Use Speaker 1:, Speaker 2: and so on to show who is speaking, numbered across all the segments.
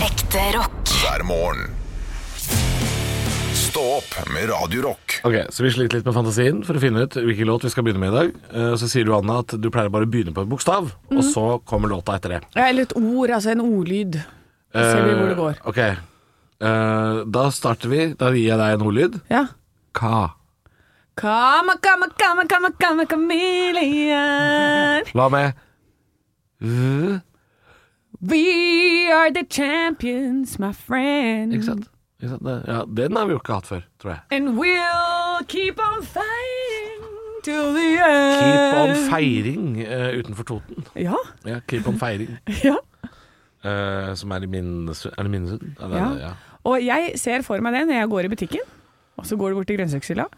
Speaker 1: Ekte rock.
Speaker 2: hver morgen. Stå opp med Radio Rock.
Speaker 3: Ok, Så vi sliter litt med fantasien for å finne ut hvilken låt vi skal begynne med i dag. Eh, Så sier du, Anna, at du pleier bare å begynne på en bokstav, og
Speaker 4: Mhm.
Speaker 3: så kommer låta etter det.
Speaker 4: Ja, Eller et ord, altså en ordlyd. Så ser vi hvor det går.
Speaker 3: Eh, Ok. Eh, da starter vi. Da gir jeg deg en ordlyd.
Speaker 4: Ja.
Speaker 3: Ka.
Speaker 4: Kama, kama, kama, kama, kama, chameleon.
Speaker 3: Hva med v?
Speaker 4: We are the champions, my friend.
Speaker 3: Ikke sant? Ikke sant? Det- Ja, den har vi jo ikke hatt før, tror jeg.
Speaker 4: And we'll keep on fighting till the end.
Speaker 3: Keep on feiring eh, utenfor Toten.
Speaker 4: Ja,
Speaker 3: Ja, keep on feiring.
Speaker 4: ja.
Speaker 3: eh, som er i Minnesund. Er det Minnesund? Ja, det er
Speaker 4: Ja.
Speaker 3: det, ja.
Speaker 4: Og jeg ser for meg det når jeg går i butikken. Og så går du bort til grønnsakshylla.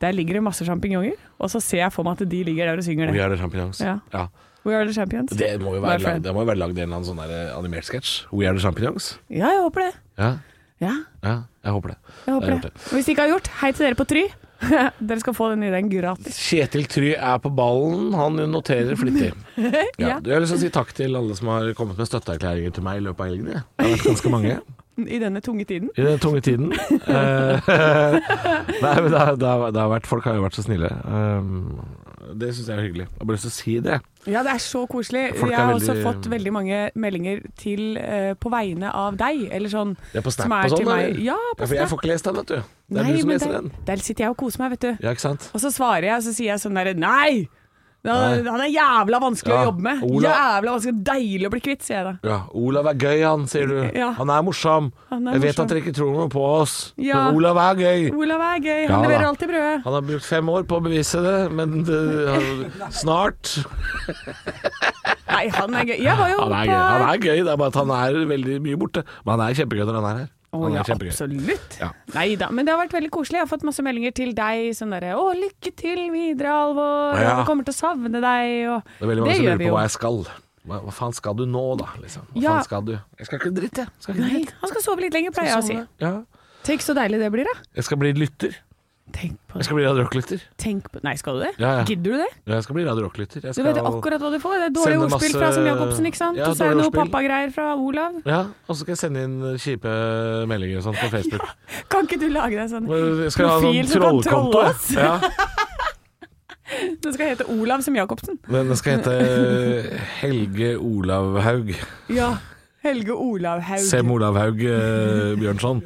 Speaker 4: Der ligger det masse sjampinjonger. Og så ser jeg for meg at de ligger der og synger
Speaker 3: We
Speaker 4: det.
Speaker 3: are the champions.
Speaker 4: Ja.
Speaker 3: ja.
Speaker 4: We are the champions.
Speaker 3: Det må jo
Speaker 4: My
Speaker 3: være
Speaker 4: friend.
Speaker 3: lagd, det må jo være lagd i en eller annen sånn der eh, animert sketsj. We are the champions.
Speaker 4: Ja, jeg håper det.
Speaker 3: Ja,
Speaker 4: Ja,
Speaker 3: ja, jeg håper det.
Speaker 4: jeg håper
Speaker 3: Jeg har gjort
Speaker 4: det. Og Hvis de ikke har gjort, hei til dere på Try. dere skal få den i den gratis.
Speaker 3: Kjetil Try er på ballen, han noterer flittig. Ja,
Speaker 4: Ja.
Speaker 3: jeg har lyst til å si takk til alle som har kommet med støtteerklæringer til meg i løpet av helgen. jeg. Det har vært ganske mange
Speaker 4: I denne tunge tiden.
Speaker 3: i den tunge tiden. Eh, Nei, men det, har- det, har- det har vært, folk har jo vært så snille. Um, det syns jeg er hyggelig. Jeg har bare lyst til å si det.
Speaker 4: Ja, det er så koselig.
Speaker 3: Folk er
Speaker 4: jeg har også
Speaker 3: veldig-
Speaker 4: fått veldig mange meldinger til eh, på vegne av deg, eller sånn.
Speaker 3: Det er på Snap
Speaker 4: Som er
Speaker 3: og sånn.
Speaker 4: til meg.
Speaker 3: eller?
Speaker 4: Ja, på
Speaker 3: for jeg
Speaker 4: Snap.
Speaker 3: får ikke lest den, vet du. Det er
Speaker 4: Nei,
Speaker 3: du som
Speaker 4: men
Speaker 3: leser
Speaker 4: der-
Speaker 3: den.
Speaker 4: Der sitter jeg og koser meg, vet du.
Speaker 3: Ja, ikke sant?
Speaker 4: Og så svarer jeg, og så sier jeg sånn derre nei! Han
Speaker 3: Nei.
Speaker 4: han er jævla vanskelig
Speaker 3: Ja,
Speaker 4: å jobbe med.
Speaker 3: Ola-
Speaker 4: Jævla vanskelig. Deilig å bli kvitt, sier jeg da.
Speaker 3: Ja, Olav er gøy, han, sier du.
Speaker 4: Ja.
Speaker 3: Han er morsom.
Speaker 4: Han er
Speaker 3: jeg vet
Speaker 4: morsom.
Speaker 3: at dere ikke tror noe på oss,
Speaker 4: Ja.
Speaker 3: men Olav er gøy.
Speaker 4: Olav er gøy,
Speaker 3: Ja,
Speaker 4: han
Speaker 3: da.
Speaker 4: leverer alltid brødet.
Speaker 3: Han har brukt fem år på å bevise det, men det- snart
Speaker 4: Nei, han er gøy. Jeg var jo
Speaker 3: han er, gøy.
Speaker 4: på
Speaker 3: han er gøy, det er bare at han er veldig mye borte. Men han er kjempegøy når han er her.
Speaker 4: Å,
Speaker 3: Han
Speaker 4: ja,
Speaker 3: er kjempegøy.
Speaker 4: absolutt.
Speaker 3: Ja.
Speaker 4: Nei da, men det har vært veldig koselig. Jeg har fått masse meldinger til deg sånn derre Å, lykke til videre, Alvor.
Speaker 3: Å, ja.
Speaker 4: Vi kommer til å savne deg. Og
Speaker 3: Det er veldig mange som
Speaker 4: gjør
Speaker 3: lurer
Speaker 4: vi
Speaker 3: på
Speaker 4: jo.
Speaker 3: hva jeg skal. Hva, hva faen skal du nå, da? Liksom? Hva
Speaker 4: Ja.
Speaker 3: faen skal du? Jeg skal ikke dritt, jeg. Skal ikke
Speaker 4: Nei,
Speaker 3: dritt.
Speaker 4: han skal sove litt lenger, pleier jeg å si.
Speaker 3: Ja.
Speaker 4: Tenk så deilig det blir, da.
Speaker 3: Jeg skal bli lytter.
Speaker 4: Tenk på
Speaker 3: Jeg
Speaker 4: det.
Speaker 3: skal bli Radio Rock-lytter.
Speaker 4: Tenk på... Nei, skal du det?
Speaker 3: Ja, ja.
Speaker 4: Gidder du det?
Speaker 3: Ja, Jeg skal bli Radio Rock-lytter. Jeg
Speaker 4: Du vet
Speaker 3: skal-
Speaker 4: akkurat hva du får. Det er dårlig
Speaker 3: Sende
Speaker 4: ordspill
Speaker 3: masse-
Speaker 4: fra Sem Jacobsen, ikke sant?
Speaker 3: Ja,
Speaker 4: og så er
Speaker 3: dårlig
Speaker 4: det noe
Speaker 3: ordspill.
Speaker 4: pappagreier fra Olav.
Speaker 3: Ja, og så skal jeg sende inn kjipe meldinger og sånt på Facebook.
Speaker 4: Kan ikke du lage deg sånn
Speaker 3: Jeg skal ha
Speaker 4: Profil
Speaker 3: sånn
Speaker 4: som kan
Speaker 3: trollkonto.
Speaker 4: trolle
Speaker 3: jeg.
Speaker 4: oss.
Speaker 3: Ja.
Speaker 4: Den skal hete Olav Sem Jacobsen.
Speaker 3: Den skal hete eh, Helge Olav Haug.
Speaker 4: Ja. Helge Olav Haug.
Speaker 3: Sem Olav Haug eh, Bjørnson.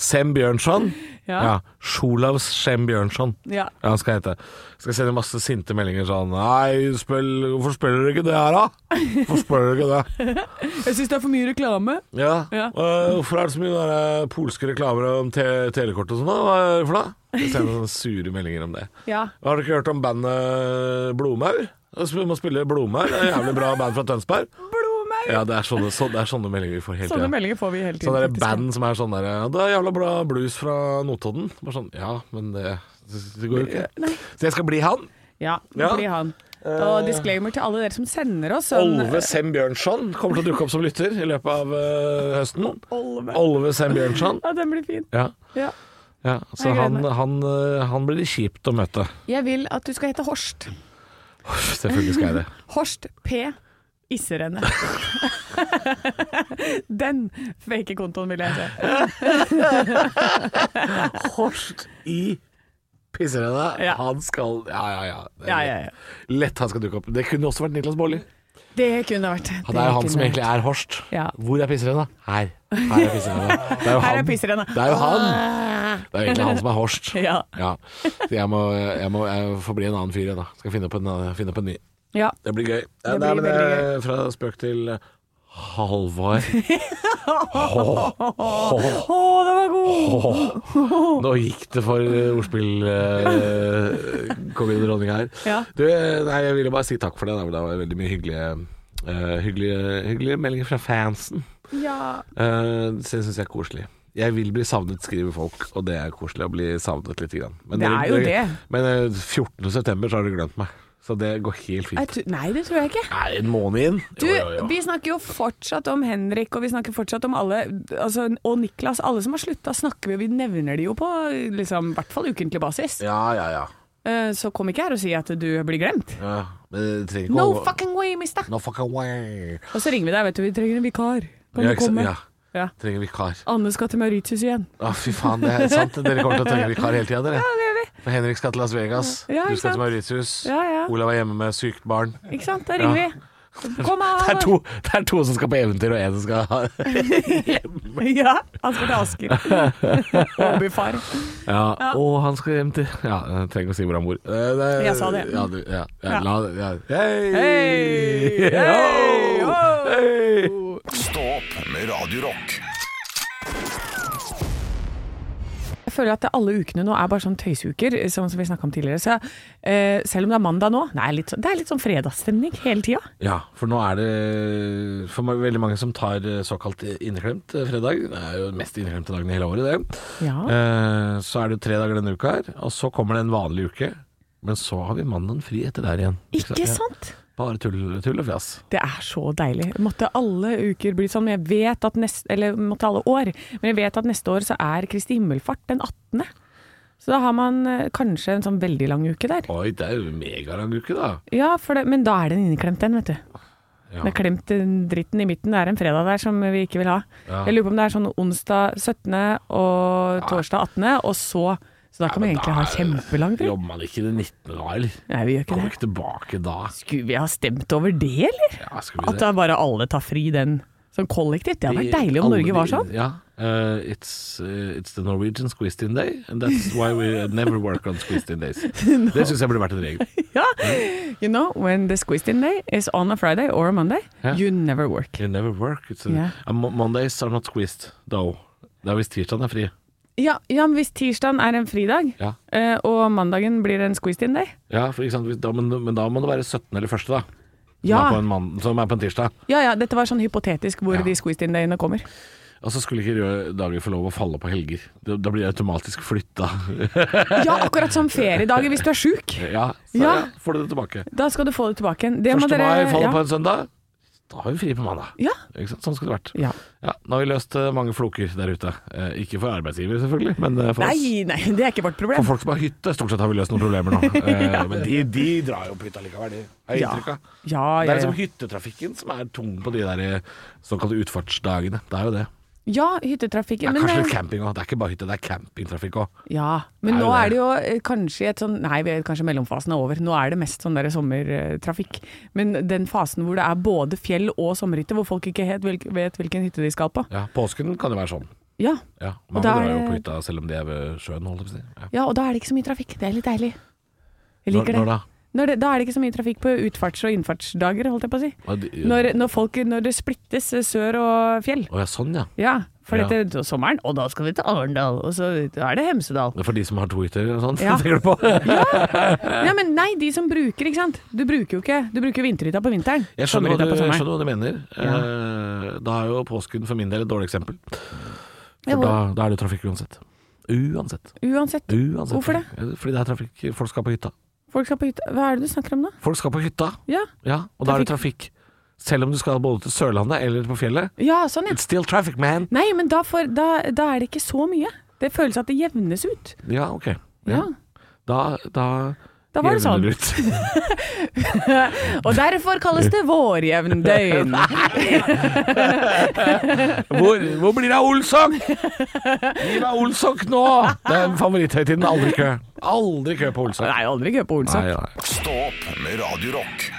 Speaker 3: Sem Bjørnson?
Speaker 4: Ja.
Speaker 3: Ja. Sjolav Sem Bjørnson.
Speaker 4: Ja.
Speaker 3: Ja, han skal hete. Skal sende masse sinte meldinger sånn Nei, spill, hvorfor spiller dere ikke det her, da? Hvorfor spiller dere ikke det?
Speaker 4: Jeg syns det er for mye reklame.
Speaker 3: Ja.
Speaker 4: Ja.
Speaker 3: «Eh, hvorfor er det så mye der, eh, polske reklamer om te telekort og sånn, da? Hva er det for noe? Jeg sender sånne sure meldinger om det.
Speaker 4: Ja.
Speaker 3: Har dere ikke hørt om bandet Blodmaur? Vi må spille Blodmaur. Det er et Jævlig bra band fra Tønsberg.
Speaker 4: Blodmaur.
Speaker 3: Ja, det er sånne, så, det er sånne meldinger vi får hele
Speaker 4: Sånne
Speaker 3: tida.
Speaker 4: meldinger får vi hele tiden.
Speaker 3: Sånne der
Speaker 4: faktisk.
Speaker 3: band som er sånn der ja, 'Det er jævla bra blues fra Notodden'. Bare sånn Ja, men det, det går jo ikke. Så jeg skal bli han.
Speaker 4: Eh, Ja, det
Speaker 3: Ja.
Speaker 4: blir han. Og disclaimer til alle dere som sender oss sånn
Speaker 3: Olve Sem Bjørnson kommer til å dukke opp som lytter i løpet av eh, høsten.
Speaker 4: Olve.
Speaker 3: Olve Sem Bjørnson.
Speaker 4: Ja, den blir fin.
Speaker 3: Ja,
Speaker 4: Ja.
Speaker 3: ja. Så
Speaker 4: Jeg gleder
Speaker 3: han,
Speaker 4: meg.
Speaker 3: han, eh, han blir det kjipt å møte.
Speaker 4: Jeg vil at du skal hete Horst.
Speaker 3: Selvfølgelig skal jeg det.
Speaker 4: Horst P. Isserenne. Den fake kontoen vil jeg se.
Speaker 3: Horst i Pisserøda.
Speaker 4: Ja.
Speaker 3: Han skal Ja, ja, ja. Det er
Speaker 4: Ja, ja, ja.
Speaker 3: Lett han skal dukke opp. Det kunne også vært Niklas Baarli.
Speaker 4: Det kunne vært.
Speaker 3: Han er jo han som egentlig er Horst.
Speaker 4: Ja.
Speaker 3: Hvor er Pisserøda? Her. Her er Pisserøda. Det er jo
Speaker 4: Her
Speaker 3: han.
Speaker 4: er pisserne.
Speaker 3: Det er jo han. Det er jo egentlig han som er Horst.
Speaker 4: Ja.
Speaker 3: Ja. Så jeg må, jeg må jeg får bli en annen fyr, jeg, da. Skal finne på en, annen- finne på en ny.
Speaker 4: Ja.
Speaker 3: Det blir gøy. Ja,
Speaker 4: Det
Speaker 3: nei,
Speaker 4: blir
Speaker 3: men,
Speaker 4: veldig
Speaker 3: eh, Fra spøk til Halvor.
Speaker 4: Å, den var god!
Speaker 3: Nå gikk det for eh, ordspill eh, kongen og dronninga her.
Speaker 4: Ja.
Speaker 3: Du, nei, jeg ville bare si takk for det. Da. Det var veldig mye hyggelige, eh, hyggelige, hyggelige meldinger fra fansen.
Speaker 4: Ja.
Speaker 3: Uh, det syns jeg er koselig. Jeg vil bli savnet, skriver folk, og det er koselig å bli savnet lite grann. Men
Speaker 4: Det er jo det.
Speaker 3: Men eh, 14. september så har du glemt meg, så det går helt
Speaker 4: Jeg
Speaker 3: fint.
Speaker 4: tr- Nei, det tror jeg ikke.
Speaker 3: Nei, en måned inn?
Speaker 4: Du, vi snakker jo fortsatt om Henrik, og vi snakker fortsatt om alle altså, Og Niklas. Alle som har slutta, snakker vi, og vi nevner de jo på liksom, i hvert fall ukentlig basis.
Speaker 3: Ja, ja, ja.
Speaker 4: Eh, Så kom ikke her og si at du blir glemt.
Speaker 3: ja. Men det trenger ikke
Speaker 4: No
Speaker 3: å-
Speaker 4: fucking way, mister!
Speaker 3: No fucking way.
Speaker 4: Og så ringer vi deg, vet du. Vi trenger en vikar. Kan
Speaker 3: Ja,
Speaker 4: du
Speaker 3: ikke sant?
Speaker 4: komme?
Speaker 3: Ja.
Speaker 4: Ja.
Speaker 3: Trenger vikar.
Speaker 4: Anne skal til Mauritius igjen.
Speaker 3: Å, fy faen, det er sant. Dere kommer til å trenge vikar hele tida, dere. For Henrik skal til Las Vegas,
Speaker 4: Ja,
Speaker 3: du
Speaker 4: ikke
Speaker 3: skal
Speaker 4: sant?
Speaker 3: til Mauritius.
Speaker 4: Ja, ja.
Speaker 3: Olav er hjemme med sykt barn.
Speaker 4: Ikke sant? Da ringer
Speaker 3: Ja.
Speaker 4: vi. Kom av!
Speaker 3: Det er, to, det er to som skal på eventyr, og én som skal ha
Speaker 4: Ja, han skal til Asker. Hobbyfar.
Speaker 3: Ja, og han skal hjem til Ja, jeg trenger å si hvor han bor. Eh, det-
Speaker 4: Jeg sa det.
Speaker 3: Ja, du, ja, ja,
Speaker 4: Ja.
Speaker 3: la det ja. Hei!
Speaker 4: Hei! Hei!
Speaker 3: Ho!
Speaker 4: Ho!
Speaker 3: Hei!
Speaker 2: Stå opp med Radio Rock.
Speaker 4: Jeg føler at alle ukene nå er bare sånn tøysuker, som, som vi snakka om tidligere. Så, eh, selv om det er mandag nå, det er litt, sånn- det er litt sånn fredagsstemning hele tida.
Speaker 3: Ja, for nå er det for ma- veldig mange som tar eh, såkalt inneklemt eh, fredag. Det er jo den mest inneklemte dagen i hele året, det.
Speaker 4: Ja. Ah.
Speaker 3: Eh, Så er det tre dager denne uka her, og så kommer det en vanlig uke. Men så har vi mandagen fri etter der igjen.
Speaker 4: Ikke
Speaker 3: Ja,
Speaker 4: sant?
Speaker 3: Bare tull, tull og fjas.
Speaker 4: Det er så deilig. Måtte alle uker bli sånn. men Jeg vet at neste, eller måtte alle år, men jeg vet at neste år så er Kristi himmelfart den 18. Så da har man eh, kanskje en sånn veldig lang uke der.
Speaker 3: Oi, det er jo en megalang uke, da.
Speaker 4: Ja, for det, men da er den inneklemt, den, vet du.
Speaker 3: Ja.
Speaker 4: Det er klemt den dritten i midten. Det er en fredag der som vi ikke vil ha.
Speaker 3: Ja.
Speaker 4: Jeg lurer på om det er sånn onsdag 17. og torsdag 18., og så Så da kan vi
Speaker 3: men
Speaker 4: egentlig
Speaker 3: da
Speaker 4: ha
Speaker 3: er-
Speaker 4: kjempelang fri.
Speaker 3: Jobber man ikke den 19. da, eller?
Speaker 4: Nei, vi gjør ikke
Speaker 3: Kommer
Speaker 4: det.
Speaker 3: ikke tilbake da.
Speaker 4: Skulle vi ha stemt over det, eller?
Speaker 3: Ja, skal vi
Speaker 4: At
Speaker 3: se.
Speaker 4: da bare alle tar fri den sånn kollektivt? Det hadde vært deilig om
Speaker 3: Alle
Speaker 4: Norge var
Speaker 3: de-
Speaker 4: sånn.
Speaker 3: Ja. Uh, it's, uh, it's the Norwegian squeezed in day, and that's why we never work on squeezed in days. Det syns jeg burde vært en regel.
Speaker 4: Ja. You know, when the squeezed in day is on a Friday or a Monday,
Speaker 3: Ja.
Speaker 4: you never work.
Speaker 3: You never work. It's a,
Speaker 4: Ja.
Speaker 3: Uh, Mo- Mondays are not squeezed, though. Det er hvis tirsdagen er fri.
Speaker 4: Ja, ja men hvis tirsdagen er en fridag,
Speaker 3: Ja,
Speaker 4: eh, og mandagen blir en squeezed in day
Speaker 3: ja for ikke sant? hvis- Da, men, men da må det være 17. eller 1., da. Som,
Speaker 4: Ja.
Speaker 3: er på en mann, som er på en tirsdag.
Speaker 4: Ja ja, dette var sånn hypotetisk hvor
Speaker 3: Ja.
Speaker 4: de squeezed in dayene kommer.
Speaker 3: Og så skulle ikke røde dager få lov å falle på helger. Da da blir det automatisk flytta.
Speaker 4: Ja, akkurat som feriedager hvis du er sjuk.
Speaker 3: ja, så
Speaker 4: Ja.
Speaker 3: ja, får du det tilbake.
Speaker 4: Da skal du få det tilbake igjen. Det må
Speaker 3: 1.
Speaker 4: dere
Speaker 3: mai faller
Speaker 4: ja.
Speaker 3: på en søndag. Da har vi fri på mandag.
Speaker 4: Ja.
Speaker 3: Ikke sant? Sånn skulle det vært.
Speaker 4: ja.
Speaker 3: Ja, nå har vi løst eh, mange floker der ute. Eh, ikke for arbeidsgiver, selvfølgelig, men eh, for, oss.
Speaker 4: Nei, nei, det er ikke vårt
Speaker 3: for
Speaker 4: problem.
Speaker 3: folk som har hytte. Stort sett har vi løst noen problemer nå. Eh, Men de, de drar jo opp hytta likevel, de. Har jeg
Speaker 4: Ja.
Speaker 3: inntrykk av.
Speaker 4: Ja,
Speaker 3: Det
Speaker 4: ja,
Speaker 3: er liksom
Speaker 4: ja.
Speaker 3: hyttetrafikken som er tung på de der eh, såkalte utfartsdagene. Det er jo det.
Speaker 4: ja hyttetrafikken.
Speaker 3: Det er
Speaker 4: Men,
Speaker 3: kanskje litt
Speaker 4: eh,
Speaker 3: camping òg. Det er ikke bare hytte, det er campingtrafikk òg.
Speaker 4: ja, men
Speaker 3: Det er
Speaker 4: nå
Speaker 3: jo det.
Speaker 4: er det jo eh, kanskje i et sånn Nei, vi er kanskje mellomfasen er over. Nå er det mest sånn der sommertrafikk. Men den fasen hvor det er både fjell og sommerhytte, hvor folk ikke helt vil- vet hvilken hytte de skal på.
Speaker 3: Ja, påsken kan jo være sånn.
Speaker 4: Ja,
Speaker 3: Ja,
Speaker 4: Og
Speaker 3: Mange drar
Speaker 4: da er
Speaker 3: jo
Speaker 4: det-
Speaker 3: på hytta selv om de er ved sjøen, holdt jeg på å si. Ja.
Speaker 4: ja, og da er det ikke så mye trafikk. Det er litt deilig. Jeg
Speaker 3: Når,
Speaker 4: liker
Speaker 3: når
Speaker 4: det.
Speaker 3: da?
Speaker 4: Når det. Da er det ikke så mye trafikk på utfarts- og innfartsdager, holdt jeg på å si.
Speaker 3: Hva er de-
Speaker 4: Når, når, folk, når det splittes eh, sør og fjell.
Speaker 3: Å ja, sånn ja.
Speaker 4: Ja, for
Speaker 3: Ja.
Speaker 4: dette er sommeren, og da skal vi til Arendal, og så er det Hemsedal.
Speaker 3: Det er for de som har to hytter og sånn,
Speaker 4: Ja.
Speaker 3: tenker du på?
Speaker 4: Ja, men nei, de som bruker, ikke sant. Du bruker jo ikke Du bruker vinterhytta på vinteren.
Speaker 3: Jeg skjønner, hva
Speaker 4: Sommerhytta
Speaker 3: du, jeg
Speaker 4: på sommeren.
Speaker 3: skjønner hva du mener. Eh, Da er jo påsken for min del et dårlig eksempel. For
Speaker 4: Ja,
Speaker 3: da, da er det trafikk uansett. Uansett.
Speaker 4: Uansett,
Speaker 3: uansett.
Speaker 4: Hvorfor det?
Speaker 3: Ja, Fordi det er trafikk. Folk skal på hytta.
Speaker 4: folk skal på hytta. Hva er det du snakker om da?
Speaker 3: Folk skal på hytta,
Speaker 4: Ja,
Speaker 3: ja, og da er det trafikk. Selv om du skal både til Sørlandet eller på fjellet.
Speaker 4: ja sånn ja.
Speaker 3: It's still traffic, man!
Speaker 4: Nei, men da, får, da, da er det ikke så mye. Det føles at det jevnes ut.
Speaker 3: Ja, ok.
Speaker 4: Ja.
Speaker 3: Da, da
Speaker 4: Da var det
Speaker 3: jevner
Speaker 4: sånn.
Speaker 3: ut.
Speaker 4: Og derfor kalles det vårjevndøgn.
Speaker 3: Hvor, hvor blir det av Olsok? Gi meg Olsok nå! Det er favoritthøytiden. Aldri kø. Aldri kø på Olsok.
Speaker 4: Nei, aldri kø på Olsson.
Speaker 3: Nei, nei.
Speaker 2: Stå opp med Radio Rock.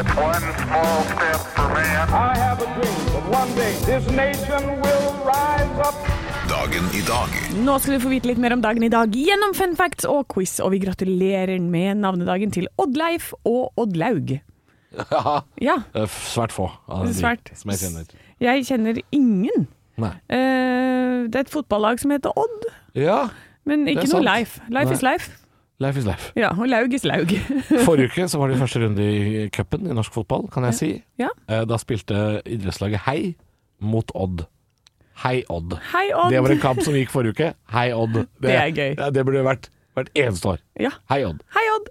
Speaker 1: It's one small step for man.
Speaker 5: I have a dream that one day this nation will rise up.
Speaker 2: Dagen i dag.
Speaker 4: Nå skal du få vite litt mer om dagen i dag gjennom fun facts og quiz, og vi gratulerer med navnedagen til Oddleif og Oddlaug. Ja,
Speaker 3: Det er Svært få av de
Speaker 4: Svært.
Speaker 3: som jeg kjenner.
Speaker 4: jeg kjenner ingen.
Speaker 3: Nei.
Speaker 4: Eh, det er et fotballag som heter Odd,
Speaker 3: Ja,
Speaker 4: men
Speaker 3: Det
Speaker 4: ikke
Speaker 3: er sant.
Speaker 4: noe Leif. Leif
Speaker 3: Nei.
Speaker 4: is Leif.
Speaker 3: life is life.
Speaker 4: Ja, og Laug is Laug.
Speaker 3: Forrige uke så var det første runde i cupen i norsk fotball, kan jeg si.
Speaker 4: Ja.
Speaker 3: Eh, Da spilte idrettslaget Hei mot Odd. Hei Odd.
Speaker 4: Hei, Odd.
Speaker 3: Det var en kamp som gikk forrige uke. Hei Odd. Det,
Speaker 4: er gøy.
Speaker 3: Ja, det burde vært hvert eneste år.
Speaker 4: Ja.
Speaker 3: Hei Odd.
Speaker 4: Hei, Odd!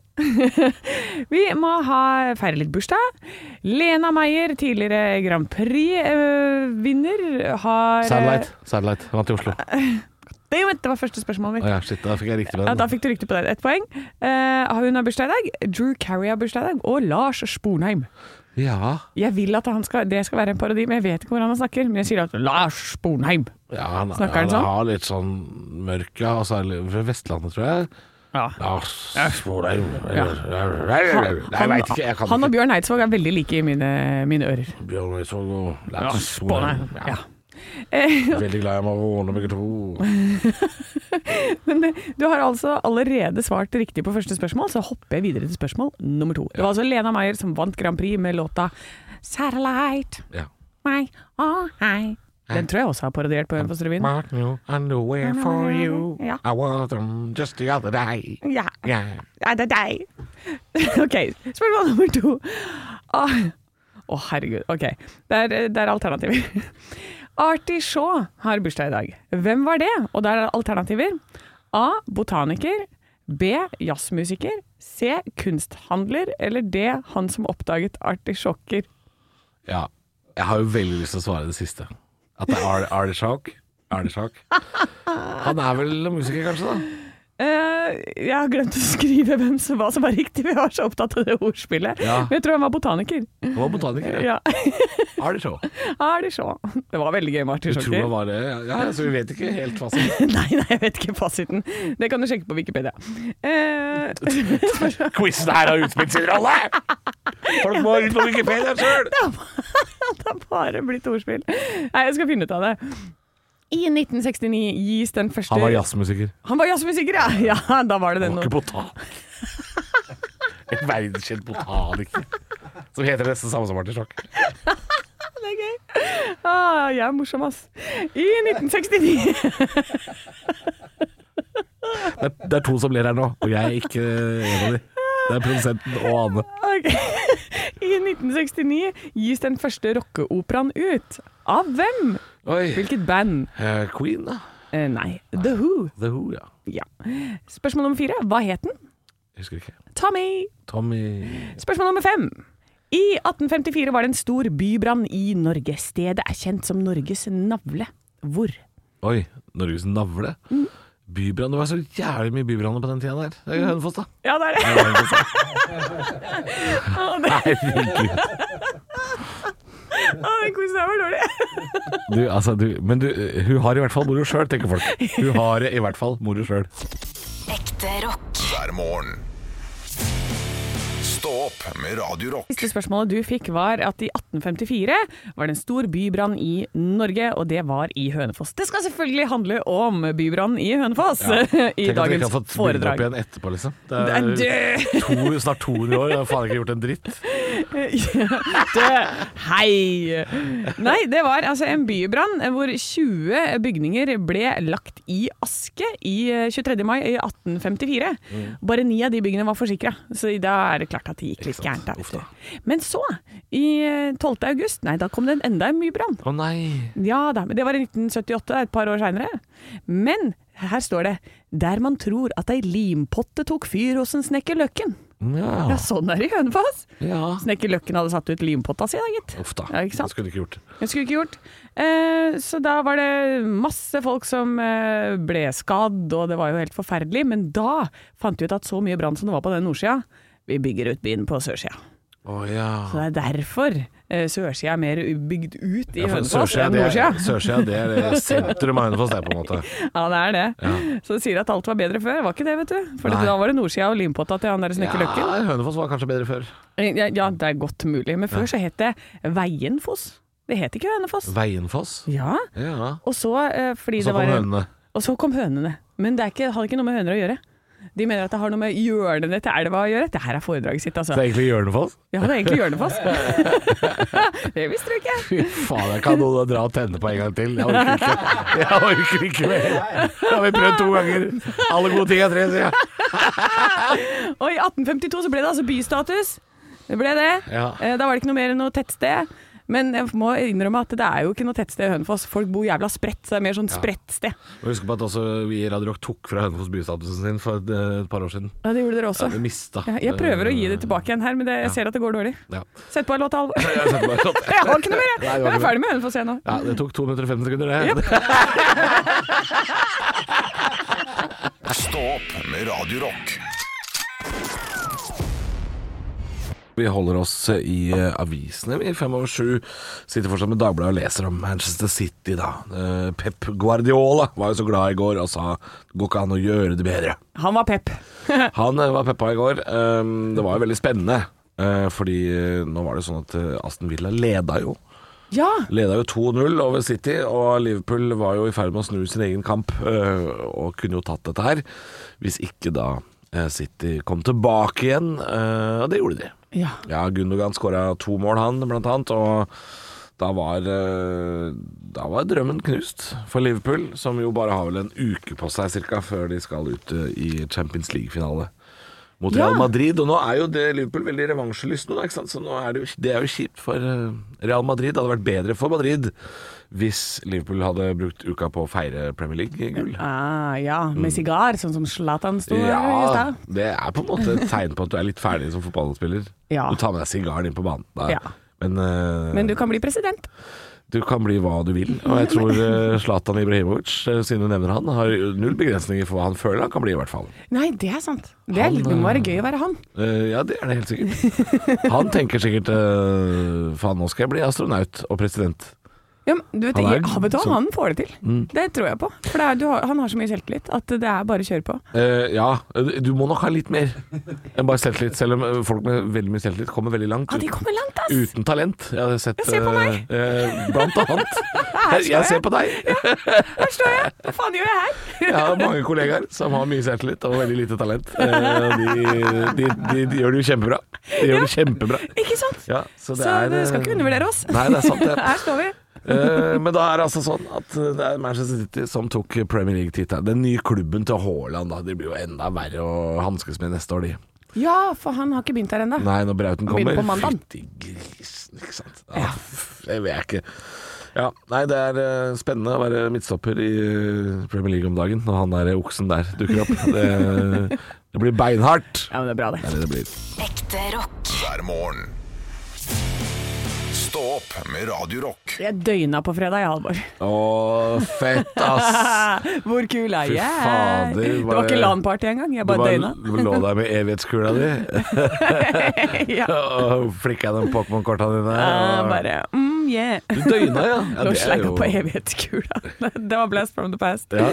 Speaker 4: Vi må ha feire litt bursdag. Lena Meyer, tidligere Grand Prix-vinner, har eh,
Speaker 3: Satellite. Satellite vant i Oslo.
Speaker 4: Damn it, det var første spørsmålet mitt.
Speaker 3: Å ja, shit, da fikk jeg riktig på
Speaker 4: Ja, da
Speaker 3: den.
Speaker 4: fikk du riktig på det. Ett poeng. Eh, hun har bursdag i dag. Drew Carey har bursdag i dag. Og Lars Spornheim.
Speaker 3: Ja,
Speaker 4: Jeg vil at han skal, det skal være en parodi, men jeg vet ikke hvordan han snakker. Men jeg sier at Lars Spornheim.
Speaker 3: ja han,
Speaker 4: Snakker han
Speaker 3: han
Speaker 4: sånn?
Speaker 3: har litt sånn mørk, ja. Og så er det fra Vestlandet, tror jeg.
Speaker 4: Ja.
Speaker 3: Ja, spor deg. Nei, jeg veit ikke. Jeg kan
Speaker 4: han og
Speaker 3: ikke.
Speaker 4: Bjørn Eidsvåg er veldig like i mine, mine ører.
Speaker 3: Bjørn Eidsvåg og
Speaker 4: Ja,
Speaker 3: Lars Sponheim.
Speaker 4: Spornheim.
Speaker 3: Ja.
Speaker 4: Ja. Eh,
Speaker 3: Veldig glad i Marone, begge to.
Speaker 4: Men eh, du har altså allerede svart riktig på første spørsmål, så hopper jeg videre til spørsmål nummer to. Det var altså Lena Meyer som vant Grand Prix med låta 'Satellite'.
Speaker 3: Ja.
Speaker 4: My, oh, hi. Den tror jeg også har parodiert på Hønefoss Revyen.
Speaker 3: Mark new underwear for you.
Speaker 4: Ja.
Speaker 3: I wore them just the other day.
Speaker 4: Ja.
Speaker 3: Yeah.
Speaker 4: Ja, det er deg. ok, spørsmål nummer to. Ah, Å, herregud. Ok, det er, det er alternativer. Artie Shaw har bursdag i dag. Hvem var det? Og der er alternativer. A. Botaniker. B. Jazzmusiker. C. Kunsthandler. Eller D. Han som oppdaget artisjokker.
Speaker 3: Ja. Jeg har jo veldig lyst til å svare det siste. At det er Artisjok. Artisjok. Han er vel musiker, kanskje, da?
Speaker 4: Eh, jeg har glemt å skrive hvem som, hva som var riktig, vi var så opptatt av det ordspillet.
Speaker 3: Ja.
Speaker 4: Men jeg tror han var botaniker.
Speaker 3: Han var botaniker. Ja.
Speaker 4: Ja.
Speaker 3: Artisjok.
Speaker 4: Artie Shaw. Det var veldig gøy med
Speaker 3: Du tror
Speaker 4: artisjokker.
Speaker 3: det var det? Ja, altså, vi vet ikke helt hva som
Speaker 4: Nei, nei, jeg vet ikke fasiten. Det kan du sjekke på Wikipedia. Eh,
Speaker 3: Quizen her har utspilt sin rolle! Folk må ut på Wikipedia sjøl!
Speaker 4: det har bare blitt ordspill. Nei, jeg skal finne ut av det. I 1969 gis den første
Speaker 3: Han var jazzmusiker.
Speaker 4: Han var jazzmusiker, ja! Ja, da var det den.
Speaker 3: Han var ikke botan. En verdenskjent botaniker. Som heter nesten samme som Martin Sjokk.
Speaker 4: Det er gøy. Ah, jeg er morsom, ass. I 1969
Speaker 3: Det, er- det er to som ler her nå, og jeg er ikke en av de. Det er produsenten og Ane.
Speaker 4: Ok. I 1969 gis den første rockeoperaen ut. Av hvem?
Speaker 3: Oi.
Speaker 4: Hvilket band?
Speaker 3: Eh, Queen, da.
Speaker 4: Eh, nei, The Who.
Speaker 3: The Who, ja.
Speaker 4: Ja. Spørsmål nummer fire. Hva het den?
Speaker 3: Jeg husker ikke.
Speaker 4: Tommy.
Speaker 3: Tommy
Speaker 4: Spørsmål nummer fem. I 1854 var det en stor bybrann i Norge. Stedet er kjent som Norges navle. Hvor?
Speaker 3: Oi, Norges navle. Bybrann. Det var så jævlig mye bybranner på den tida der. Det er jo Hønefoss, da.
Speaker 4: Ja, det er det. Å, det-
Speaker 3: Herregud.
Speaker 4: å, Den quizen her var dårlig.
Speaker 3: Du, altså, du, men du, hun har i hvert fall moro sjøl, tenker folk. Hun har i hvert fall moro sjøl.
Speaker 6: Ekte rock.
Speaker 2: hver morgen. Stå opp med Radio Rock.
Speaker 4: Siste spørsmålet du fikk var at i 1854 var det en stor bybrann i Norge, og det var i Hønefoss. Det skal selvfølgelig handle om bybrannen i Hønefoss i
Speaker 3: Tenk at vi
Speaker 4: dagens
Speaker 3: ikke har fått bildet opp
Speaker 4: foredrag.
Speaker 3: igjen etterpå, liksom. Det
Speaker 4: Det er død!
Speaker 3: to, snart 200 år, jeg har faen ikke gjort en dritt.
Speaker 4: Død. Hei! Nei, det var altså en bybrann hvor 20 bygninger ble lagt i aske i eh, 23. mai i 1854.
Speaker 3: Mm.
Speaker 4: Bare ni av de byggene var forsikra, så da er det klart at det gikk litt
Speaker 3: Ikke sant.
Speaker 4: gærent. da,
Speaker 3: Uff
Speaker 4: vet
Speaker 3: da.
Speaker 4: du. Men så, i eh, 12. august, nei, da kom det en- enda en bybrann.
Speaker 3: Å nei.
Speaker 4: Ja da, men det var i 1978, det er et par år seinere. Men her står det 'Der man tror at ei limpotte tok fyr hos en snekker Løkken'. Ja,
Speaker 3: Ja.
Speaker 4: sånn er det i Hønefoss.
Speaker 3: ja.
Speaker 4: Snekker Løkken hadde satt ut limpotta si da, gitt.
Speaker 3: Uff da.
Speaker 4: Ja, ikke sant?
Speaker 3: Det skulle du ikke gjort.
Speaker 4: Jeg skulle ikke gjort. Eh, så da var det masse folk som eh, ble skadd, og det var jo helt forferdelig. Men da fant vi ut at så mye brann som det var på den nordsida, vi bygger ut byen på sørsida.
Speaker 3: Å ja.
Speaker 4: Så det er derfor eh, sørsida er mer bygd ut i
Speaker 3: Ja, for
Speaker 4: Hønefoss
Speaker 3: Sørsida,
Speaker 4: enn
Speaker 3: det er-
Speaker 4: nordsida.
Speaker 3: Sørsida, det er det sentrum av Hønefoss, det, er på en måte.
Speaker 4: Ja, det er det. Så de sier at alt var bedre før. Var ikke det, vet du. For
Speaker 3: Nei.
Speaker 4: da var det nordsida og limpotta til han der snekker Løkken.
Speaker 3: Ja, Hønefoss var kanskje bedre før.
Speaker 4: Eh, Ja, ja, det er godt mulig. Men før så het det Veienfoss. Det het ikke Hønefoss.
Speaker 3: Veienfoss?
Speaker 4: Ja.
Speaker 3: Ja.
Speaker 4: Og så, eh, fordi
Speaker 3: Så
Speaker 4: det var
Speaker 3: kom hønene.
Speaker 4: Og så kom hønene. Men det er ikke, har ikke noe med høner å gjøre. De mener at det har noe med hjørnene til elva å gjøre. Det her er foredraget sitt, altså.
Speaker 3: Så det er egentlig Hjørnefoss?
Speaker 4: Ja, det er egentlig Hjørnefoss. det visste du ikke.
Speaker 3: Fy faen, jeg kan noen dra og tenne på en gang til. Jeg orker ikke, jeg orker ikke mer. Det har vi prøvd to ganger. Alle gode ting er tre, sier jeg.
Speaker 4: Og i 1852 så ble det altså bystatus. Det ble det.
Speaker 3: Ja.
Speaker 4: Eh, Da var det ikke noe mer enn noe tettsted. Men jeg må innrømme at det er jo ikke noe tettsted i Hønefoss. Folk bor jævla spredt, så det er mer sånn spredtsted.
Speaker 3: Og Husk på at også vi i Radio Rock tok fra Hønefoss bystatusen sin for et, eh, et par år siden.
Speaker 4: Ja, det gjorde dere
Speaker 3: Ja,
Speaker 4: også.
Speaker 3: vi mista.
Speaker 4: Ja, Jeg prøver å gi det tilbake igjen her, men det, jeg ser at det går dårlig.
Speaker 3: Ja.
Speaker 4: Sett på en låt, Alvor.
Speaker 3: Jeg setter meg sånn.
Speaker 4: Jeg har ikke noe mer, jeg.
Speaker 3: Nei, det var
Speaker 4: Jeg
Speaker 3: ikke
Speaker 4: er ferdig med Hønefoss igjen nå.
Speaker 3: Ja, det tok 250 sekunder, det.
Speaker 2: Stå opp med Radio Rock.
Speaker 3: Vi holder oss i eh, avisene, vi. Fem over sju. Sitter fortsatt med Dagbladet og leser om Manchester City, da. Eh, Pep Guardiola var jo så glad i går og sa det går ikke an å gjøre det bedre.
Speaker 4: Han var pep.
Speaker 3: Han eh, var peppa i går. Eh, det var jo veldig spennende, eh, fordi eh, nå var det sånn at eh, Aston Villa leda jo.
Speaker 4: Ja,
Speaker 3: Leda jo 2-0 over City, og Liverpool var jo i ferd med å snu sin egen kamp øh, og kunne jo tatt dette her, hvis ikke da eh, City kom tilbake igjen, øh, og det gjorde de.
Speaker 4: ja.
Speaker 3: Ja, Gundogan skåra to mål, han, blant annet, og da var, øh, da var drømmen knust for Liverpool, som jo bare har vel en uke på seg cirka før de skal ut øh, i Champions League-finale. Mot
Speaker 4: Ja.
Speaker 3: Real Madrid, og nå er jo det Liverpool veldig revansjelystne, da, ikke sant? så nå er det, jo, det er jo kjipt for øh, Real Madrid. Det hadde vært bedre for Madrid hvis Liverpool hadde brukt uka på å feire Premier League-gull.
Speaker 4: Ah, ja. Med sigar, sånn som Zlatan sto
Speaker 3: Mm.
Speaker 4: i
Speaker 3: Ja,
Speaker 4: stad.
Speaker 3: det er på en måte et tegn på at du er litt ferdig som fotballspiller.
Speaker 4: Ja.
Speaker 3: Du tar med deg sigaren inn på banen. Da.
Speaker 4: Ja.
Speaker 3: Men, eh,
Speaker 4: Men
Speaker 3: du...
Speaker 4: du kan bli president.
Speaker 3: kan bli hva du vil. Og jeg tror eh, Zlatan Ibrahimovic, eh, siden du nevner han, har null begrensninger for hva han føler han kan bli, i hvert fall.
Speaker 4: Nei, det er sant. Det, er,
Speaker 3: Han,
Speaker 4: det må være gøy å være han.
Speaker 3: Eh, ja, det er det helt sikkert. Han tenker sikkert eh, faen, nå skal jeg bli astronaut og president.
Speaker 4: Ja, men du vet,
Speaker 3: Han er-
Speaker 4: jeg- vet du hva,
Speaker 3: så- Mm.
Speaker 4: han får det til. Det tror jeg på. For det er, du har, han har så mye selvtillit at det er bare å kjøre på.
Speaker 3: Eh, ja, du må nok ha litt mer enn bare selvtillit, selv om eh, folk med veldig mye selvtillit kommer veldig langt.
Speaker 4: Ja, Ah, de kommer langt, ass!
Speaker 3: Uten talent. Jeg hadde sett
Speaker 4: Jeg ser på meg.
Speaker 3: eh, eh, Blant annet. Jeg, jeg ser på deg.
Speaker 4: Her står jeg! Hva faen gjør jeg her?
Speaker 3: Jeg har mange kollegaer som har mye selvtillit og veldig lite talent. Eh, De, de, de, de gjør det jo kjempebra. De gjør det kjempebra.
Speaker 4: Ikke sant?
Speaker 3: Ja, så det
Speaker 4: så
Speaker 3: er,
Speaker 4: du skal ikke
Speaker 3: eh,
Speaker 4: undervurdere oss.
Speaker 3: Nei, det er sant det.
Speaker 4: Her står vi.
Speaker 3: Eh, Men da er det altså sånn at det er Manchester City som tok Premier League-tittelen. Den nye klubben til Haaland, da. De blir jo enda verre å hanskes med neste år, de.
Speaker 4: Ja, for han har ikke begynt her ennå.
Speaker 3: Nei, når Brauten
Speaker 4: Han begynner
Speaker 3: kommer.
Speaker 4: på mandag.
Speaker 3: Fytti grisen, ikke sant. Ja, f- Det vet jeg ikke. Ja, nei, det er eh, spennende å være midtstopper i eh, Premier League om dagen, når han der oksen der dukker opp. Det, det blir beinhardt.
Speaker 4: Ja, men det er bra, det.
Speaker 3: Det er det det blir.
Speaker 6: Ekte rock.
Speaker 2: hver morgen. Stå opp med Radio Rock.
Speaker 4: Jeg døgna på fredag, jeg, Halvor.
Speaker 3: Å, fett, ass.
Speaker 4: Hvor kul er
Speaker 3: Fy
Speaker 4: jeg?
Speaker 3: fader,
Speaker 4: det
Speaker 3: bare-
Speaker 4: var ikke LAN-party engang, jeg
Speaker 3: Du
Speaker 4: bare
Speaker 3: bare
Speaker 4: døgna.
Speaker 3: l- lå der med evighetskula di
Speaker 4: ja.
Speaker 3: og flikka de Pokémon-korta dine.
Speaker 4: Eh,
Speaker 3: og-
Speaker 4: bare mm, yeah.
Speaker 3: Du døgna, ja. ja
Speaker 4: Lå
Speaker 3: det er
Speaker 4: slegga
Speaker 3: jo-
Speaker 4: på evighetskula. det var blast from the past.
Speaker 3: Ja.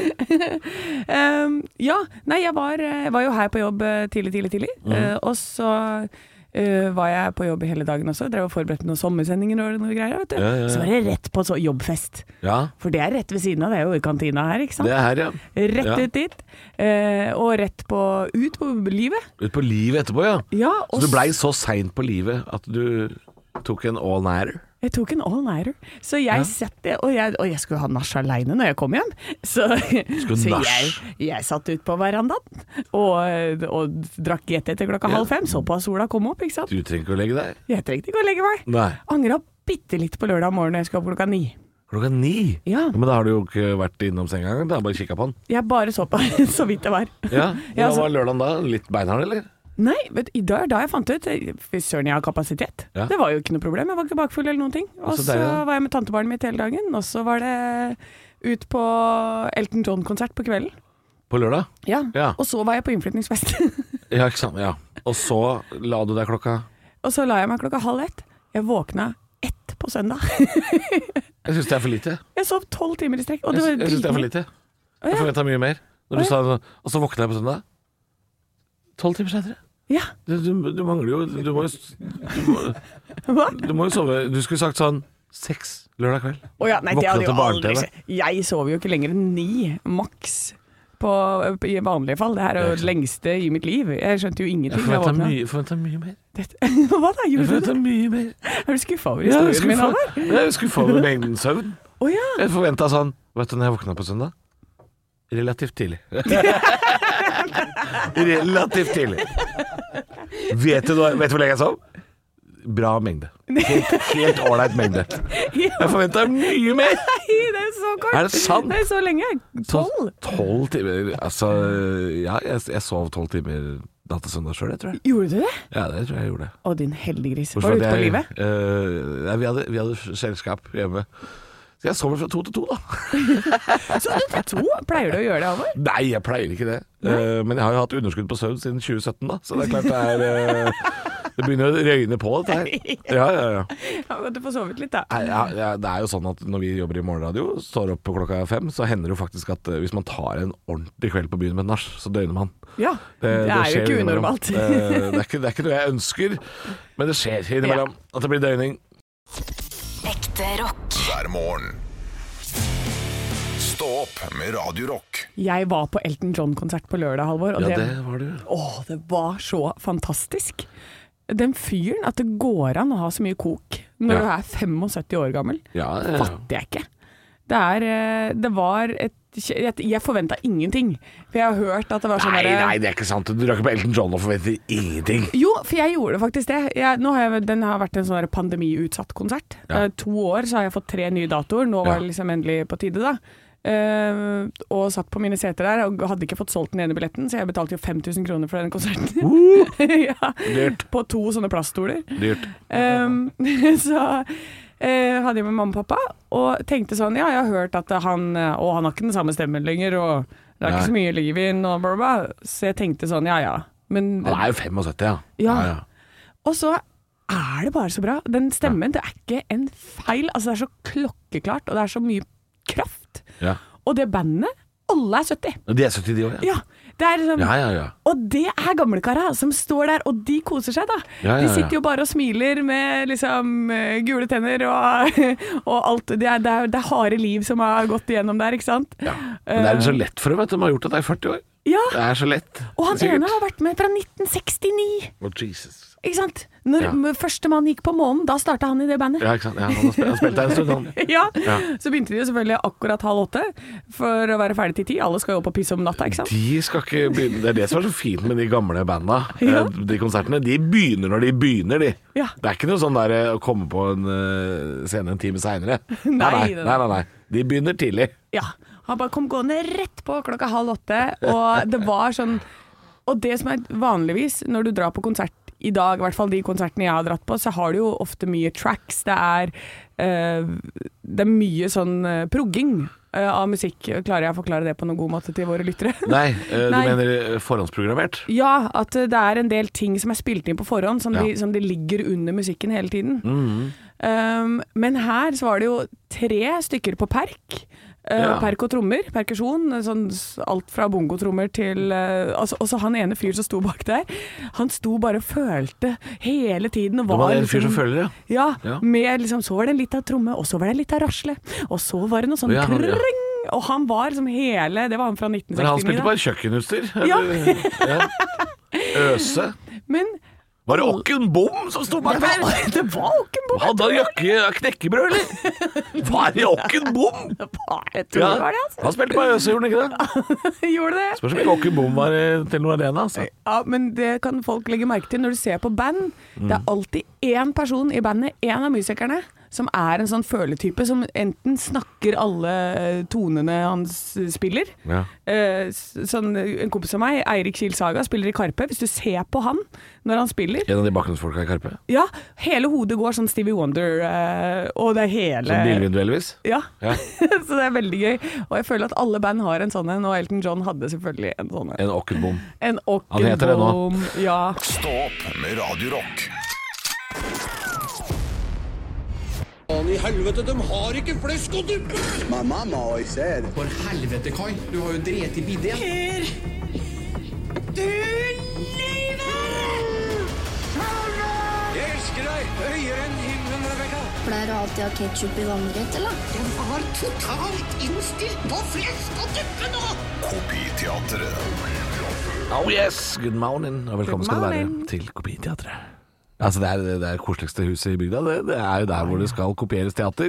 Speaker 4: Ehm, ja, nei, jeg var, eh, var jo her på jobb eh, tidlig, tidlig, tidlig.
Speaker 3: Mhm.
Speaker 4: Eh, og så eh, var jeg på jobb hele dagen også. Drev og forberedte noen sommersendinger og noe greier. Vet du.
Speaker 3: Ja, ja, ja.
Speaker 4: Så var det rett på så jobbfest.
Speaker 3: ja.
Speaker 4: For det er rett ved siden av, det er jo i kantina her, ikke sant.
Speaker 3: Det er her, ja.
Speaker 4: Rett
Speaker 3: Ja.
Speaker 4: ut dit, eh, og rett på, ut på livet.
Speaker 3: Ut på livet etterpå, ja.
Speaker 4: Ja, og
Speaker 3: Så du blei så seint på livet at du tok en all-nighter?
Speaker 4: Jeg tok en all-nighter. Så jeg satt det, og jeg, og jeg skulle ha nach aleine når jeg kom hjem. Så, så
Speaker 3: nach?
Speaker 4: jeg, jeg satt ut på verandaen og, og drakk GT til klokka halv fem. Så på at sola kom opp, ikke sant.
Speaker 3: Du trenger ikke å legge deg.
Speaker 4: Jeg trengte ikke å legge meg.
Speaker 3: Nei.
Speaker 4: Angra bitte litt på lørdag morgen når jeg skal opp klokka ni.
Speaker 3: Klokka ni?
Speaker 4: Ja.
Speaker 3: Men da har du jo ikke vært innom senga engang. da. Bare kikka på den.
Speaker 4: Jeg bare så på så vidt det var.
Speaker 3: Ja.
Speaker 4: Ja,
Speaker 3: Hvordan
Speaker 4: altså-
Speaker 3: var lørdagen da? Litt beinhard, eller?
Speaker 4: Nei, vet, du, i dag da jeg fant ut Fy søren, jeg har kapasitet.
Speaker 3: Ja. Altså,
Speaker 4: Det var jo ikke noe problem. Jeg var ikke bakfull eller noen ting. Og
Speaker 3: så
Speaker 4: så
Speaker 3: deilig, da.
Speaker 4: var jeg med tantebarnet mitt hele dagen. Og så var det ut på Elton John-konsert på kvelden.
Speaker 3: På lørdag?
Speaker 4: Ja.
Speaker 3: Ja.
Speaker 4: Og så var jeg på innflytningsfest.
Speaker 3: Ja, ikke sant. Ja. Og så la du deg klokka
Speaker 4: og så la jeg meg klokka halv ett. Jeg våkna ett på søndag.
Speaker 3: Jeg syns det er for lite.
Speaker 4: Jeg sov tolv timer i strekk. Og
Speaker 3: Jeg
Speaker 4: det
Speaker 3: sy-
Speaker 4: var
Speaker 3: jeg syns det er for lite.
Speaker 4: ja.
Speaker 3: Jeg forventa mye mer. Når
Speaker 4: Å,
Speaker 3: du
Speaker 4: ja.
Speaker 3: sa det, Og så våkna jeg på søndag. Tolv timer senere.
Speaker 4: Ja.
Speaker 3: Du, du, du mangler jo Du må jo s- du må,
Speaker 4: Hva?
Speaker 3: du må jo sove Du skulle sagt sånn seks lørdag kveld.
Speaker 4: Å ja, nei, det
Speaker 3: Våkna
Speaker 4: hadde jo
Speaker 3: til barne-TV.
Speaker 4: aldri skjedd. Jeg sover jo ikke lenger enn ni maks. På, I vanlige fall. Det her er jo
Speaker 3: Det
Speaker 4: det
Speaker 3: er
Speaker 4: lengste i mitt liv. Jeg skjønte jo
Speaker 3: Jeg
Speaker 4: ingenting. da
Speaker 3: forventa
Speaker 4: våkna.
Speaker 3: mye, forventet mye mer.
Speaker 4: Dette- Hva da?
Speaker 3: Jeg
Speaker 4: Gjorde du
Speaker 3: forventa mye mer.
Speaker 4: det? Er du skuffa over
Speaker 3: Ja, jeg
Speaker 4: historien min,
Speaker 3: skuffa,
Speaker 4: Halvor?
Speaker 3: jeg er skuffa over mengden søvn.
Speaker 4: Å ja.
Speaker 3: Jeg forventa sånn Vet du når jeg våkna på søndag? Relativt tidlig. Relativt tidlig. Vet du, hva- vet du hvor lenge jeg sov? Bra mengde. Helt helt ålreit mengde. Jeg forventa mye mer!
Speaker 4: Nei, det er så kort!
Speaker 3: Er det sant?
Speaker 4: Det er så lenge. Tolv?
Speaker 3: Tolv timer Altså, ja, jeg, jeg sov tolv timer natt til søndag sjøl, jeg tror jeg.
Speaker 4: Gjorde du det?
Speaker 3: Ja, det tror jeg jeg gjorde.
Speaker 4: Å, din heldiggris.
Speaker 3: Bortsett
Speaker 4: Var
Speaker 3: fra
Speaker 4: du ute
Speaker 3: at
Speaker 4: på
Speaker 3: jeg-
Speaker 4: livet?
Speaker 3: eh, nei, vi hadde, vi hadde selskap hjemme. Så jeg sover fra to til to, da.
Speaker 4: Så du til to? Pleier du å gjøre det, Halvor?
Speaker 3: Nei, jeg pleier ikke det. Eh, men jeg har jo hatt underskudd på søvn siden 2017, da. Så det er klart det er eh, Det begynner å røyne på, dette her. Ja, ja, ja.
Speaker 4: Ja, men Du får sovet litt, da.
Speaker 3: Nei, ja, ja, det er jo sånn at når vi jobber i morgenradio, står opp på klokka fem, så hender det jo faktisk at eh, hvis man tar en ordentlig kveld på byen med nach, så døgner man.
Speaker 4: Ja, det, er jo
Speaker 3: skjer
Speaker 4: ikke
Speaker 3: innimellom. Eh.
Speaker 4: unormalt.
Speaker 3: Det, det, er ikke, det er ikke noe jeg ønsker, men det skjer innimellom at det blir døgning.
Speaker 6: Ekte rock.
Speaker 2: hver morgen. Stå opp med Radio Rock.
Speaker 4: Jeg var på Elton John-konsert på lørdag, Halvor. Og
Speaker 3: Ja,
Speaker 4: det,
Speaker 3: det var du.
Speaker 4: Åh, det var så fantastisk. Den fyren, at det går an å ha så mye kok når
Speaker 3: Ja.
Speaker 4: du er 75 år gammel,
Speaker 3: Ja, ja, ja.
Speaker 4: fatter jeg ikke. Det er eh, Det var et kje- Jeg, jeg forventa ingenting. For jeg har hørt at det var sånn
Speaker 3: Nei,
Speaker 4: derre-
Speaker 3: nei, det er ikke sant. Du drar ikke på Elton John og forventer ingenting.
Speaker 4: Jo, for jeg gjorde faktisk det. Jeg, nå har jeg, den har vært en sånn der pandemiutsatt konsert.
Speaker 3: Ja.
Speaker 4: Eh, to år så har jeg fått tre nye datoer. Nå var
Speaker 3: Ja.
Speaker 4: det liksom endelig på tide, da. Eh, og satt på mine seter der og hadde ikke fått solgt den ene billetten, så jeg betalte jo 5000 kroner for den konserten. ja.
Speaker 3: Dyrt.
Speaker 4: På to sånne plaststoler.
Speaker 3: Dyrt.
Speaker 4: Um, så eh, hadde jeg med mamma og pappa, og tenkte sånn Ja, jeg har hørt at han eh, Å, han har ikke den samme stemmen lenger, og det er
Speaker 3: Nei.
Speaker 4: ikke så mye liv i den, og bla, bla. bla. Så jeg tenkte sånn, ja ja. Men,
Speaker 3: Han er jo 75, ja.
Speaker 4: Ja.
Speaker 3: ja.
Speaker 4: og så er det bare så bra. Den stemmen, det er ikke en feil. Altså, det er så klokkeklart, og det er så mye kraft.
Speaker 3: ja.
Speaker 4: Og det bandet, alle er 70.
Speaker 3: De er 70, de òg, ja.
Speaker 4: Ja. Det er liksom
Speaker 3: Ja, ja, ja.
Speaker 4: Og det er gamlekara som står der, og de koser seg, da.
Speaker 3: Ja, ja,
Speaker 4: De
Speaker 3: ja.
Speaker 4: sitter jo bare og smiler med liksom eh, gule tenner og, og alt. Det er, det, er, det er harde liv som har gått igjennom der, ikke sant? Eh,
Speaker 3: ja. Men det er liksom- så lett for dem, vet du. De har gjort at det i 40 år.
Speaker 4: Ja,
Speaker 3: Det er så lett.
Speaker 4: Eh. og han
Speaker 3: Sikkert.
Speaker 4: ene har vært med fra 1969,
Speaker 3: Å, Jesus.
Speaker 4: ikke sant? Når
Speaker 3: Ja.
Speaker 4: m- første mann gikk på månen, da starta han i det bandet.
Speaker 3: Ja, ikke sant. Ja, han har spilt, han spilte der en stund, han.
Speaker 4: Ja.
Speaker 3: Ja.
Speaker 4: Så begynte de jo selvfølgelig akkurat halv åtte for å være ferdig til ti. Alle skal jo opp og pisse om natta, ikke sant?
Speaker 3: De skal ikke begynne Det er det som er så fint med de gamle banda.
Speaker 4: Ja.
Speaker 3: Eh, De konsertene. De begynner når de begynner, de.
Speaker 4: Ja.
Speaker 3: Det er ikke noe sånn der eh, å komme på en eh, scene en time seinere.
Speaker 4: Nei,
Speaker 3: nei,
Speaker 4: nei,
Speaker 3: nei, nei, nei. De begynner tidlig.
Speaker 4: Ja. Han bare kom gående rett på klokka halv åtte, og det var sånn Og det som er vanligvis når du drar på konsert i dag, i hvert fall de konsertene jeg har dratt på, så har du jo ofte mye tracks. Det er, eh, det er mye sånn eh, progging eh, av musikk. Klarer jeg å forklare det på noen god måte til våre lyttere?
Speaker 3: Nei, eh,
Speaker 4: Nei.
Speaker 3: du mener eh, forhåndsprogrammert?
Speaker 4: Ja, at eh, det er en del ting som er spilt inn på forhånd, som, de,
Speaker 3: Ja. Mhm.
Speaker 4: som de ligger under musikken hele tiden. Um, men her så var det jo tre stykker på perk. eh,
Speaker 3: Ja.
Speaker 4: Perk og trommer, perkusjon. eh, Sånn, s- alt fra bongotrommer til eh, altså, Også han ene fyr som sto bak der. Han sto bare og følte hele tiden. Og
Speaker 3: Det
Speaker 4: var
Speaker 3: var en
Speaker 4: liksom-
Speaker 3: fyr som følger, ja.
Speaker 4: ja,
Speaker 3: Ja.
Speaker 4: med liksom Så var det en lita tromme, og så var det en lita rasle, og så var det noe sånn
Speaker 3: Ja, han- ja.
Speaker 4: krring, Og han var liksom hele Det var han fra 1969.
Speaker 3: Men han
Speaker 4: da.
Speaker 3: spilte bare kjøkkenutstyr.
Speaker 4: Ja.
Speaker 3: Eller, ja. Øse.
Speaker 4: Men
Speaker 3: Var det Okken Bom som sto bak
Speaker 4: det
Speaker 3: der?
Speaker 4: var, det var jo ikke en bok.
Speaker 3: Hadde han jakke av knekkebrød, eller? Var det Okken Bom?
Speaker 4: Jeg tror det var det, altså.
Speaker 3: Han spilte bare Øse, gjorde han ikke det?
Speaker 4: Gjorde det.
Speaker 3: Spørs om ikke Åke Bom var i Telenor Arena. Altså.
Speaker 4: Ja, men det kan folk legge merke til når du ser på band. Det er alltid én person i bandet, én av musikerne, som er en sånn føletype som enten snakker alle eh, tonene han s- spiller.
Speaker 3: Ja.
Speaker 4: Eh, s- sånn, en kompis av meg, Eirik Kiel Saga, spiller i Karpe. Hvis du ser på han når han spiller
Speaker 3: En av de bakgrunnsfolka i Karpe.
Speaker 4: Ja, hele hodet går sånn Stevie Wonder, eh, og det er hele
Speaker 3: Som bilvindu Elvis.
Speaker 4: Ja.
Speaker 3: Ja.
Speaker 4: så det er veldig gøy. Og jeg føler at alle band har en sånn en, og Elton John hadde selvfølgelig en sånn en.
Speaker 3: En Åke Bom.
Speaker 4: En
Speaker 3: Han heter det nå.
Speaker 4: Ockelboom. Ja.
Speaker 2: Stå opp med Radio Rock.
Speaker 7: Faen i helvete, de har ikke flesk og duppe!
Speaker 8: My mama always said,
Speaker 7: For helvete, Kai. Du har jo drept i bidé. Jeg elsker deg høyere enn himmelen, Rebekka.
Speaker 9: Pleier du alltid å ha ketsjup i vannrett, eller?
Speaker 7: Den var totalt innstilt på flesk og duppe nå!
Speaker 2: Kopiteatret.
Speaker 3: Oh yes, good morning. Og velkommen
Speaker 4: Good
Speaker 3: skal du være
Speaker 4: morning.
Speaker 3: til Kopiteatret. Altså det er det, det er det koseligste huset i bygda. Det, det er jo der hvor det skal kopieres teater.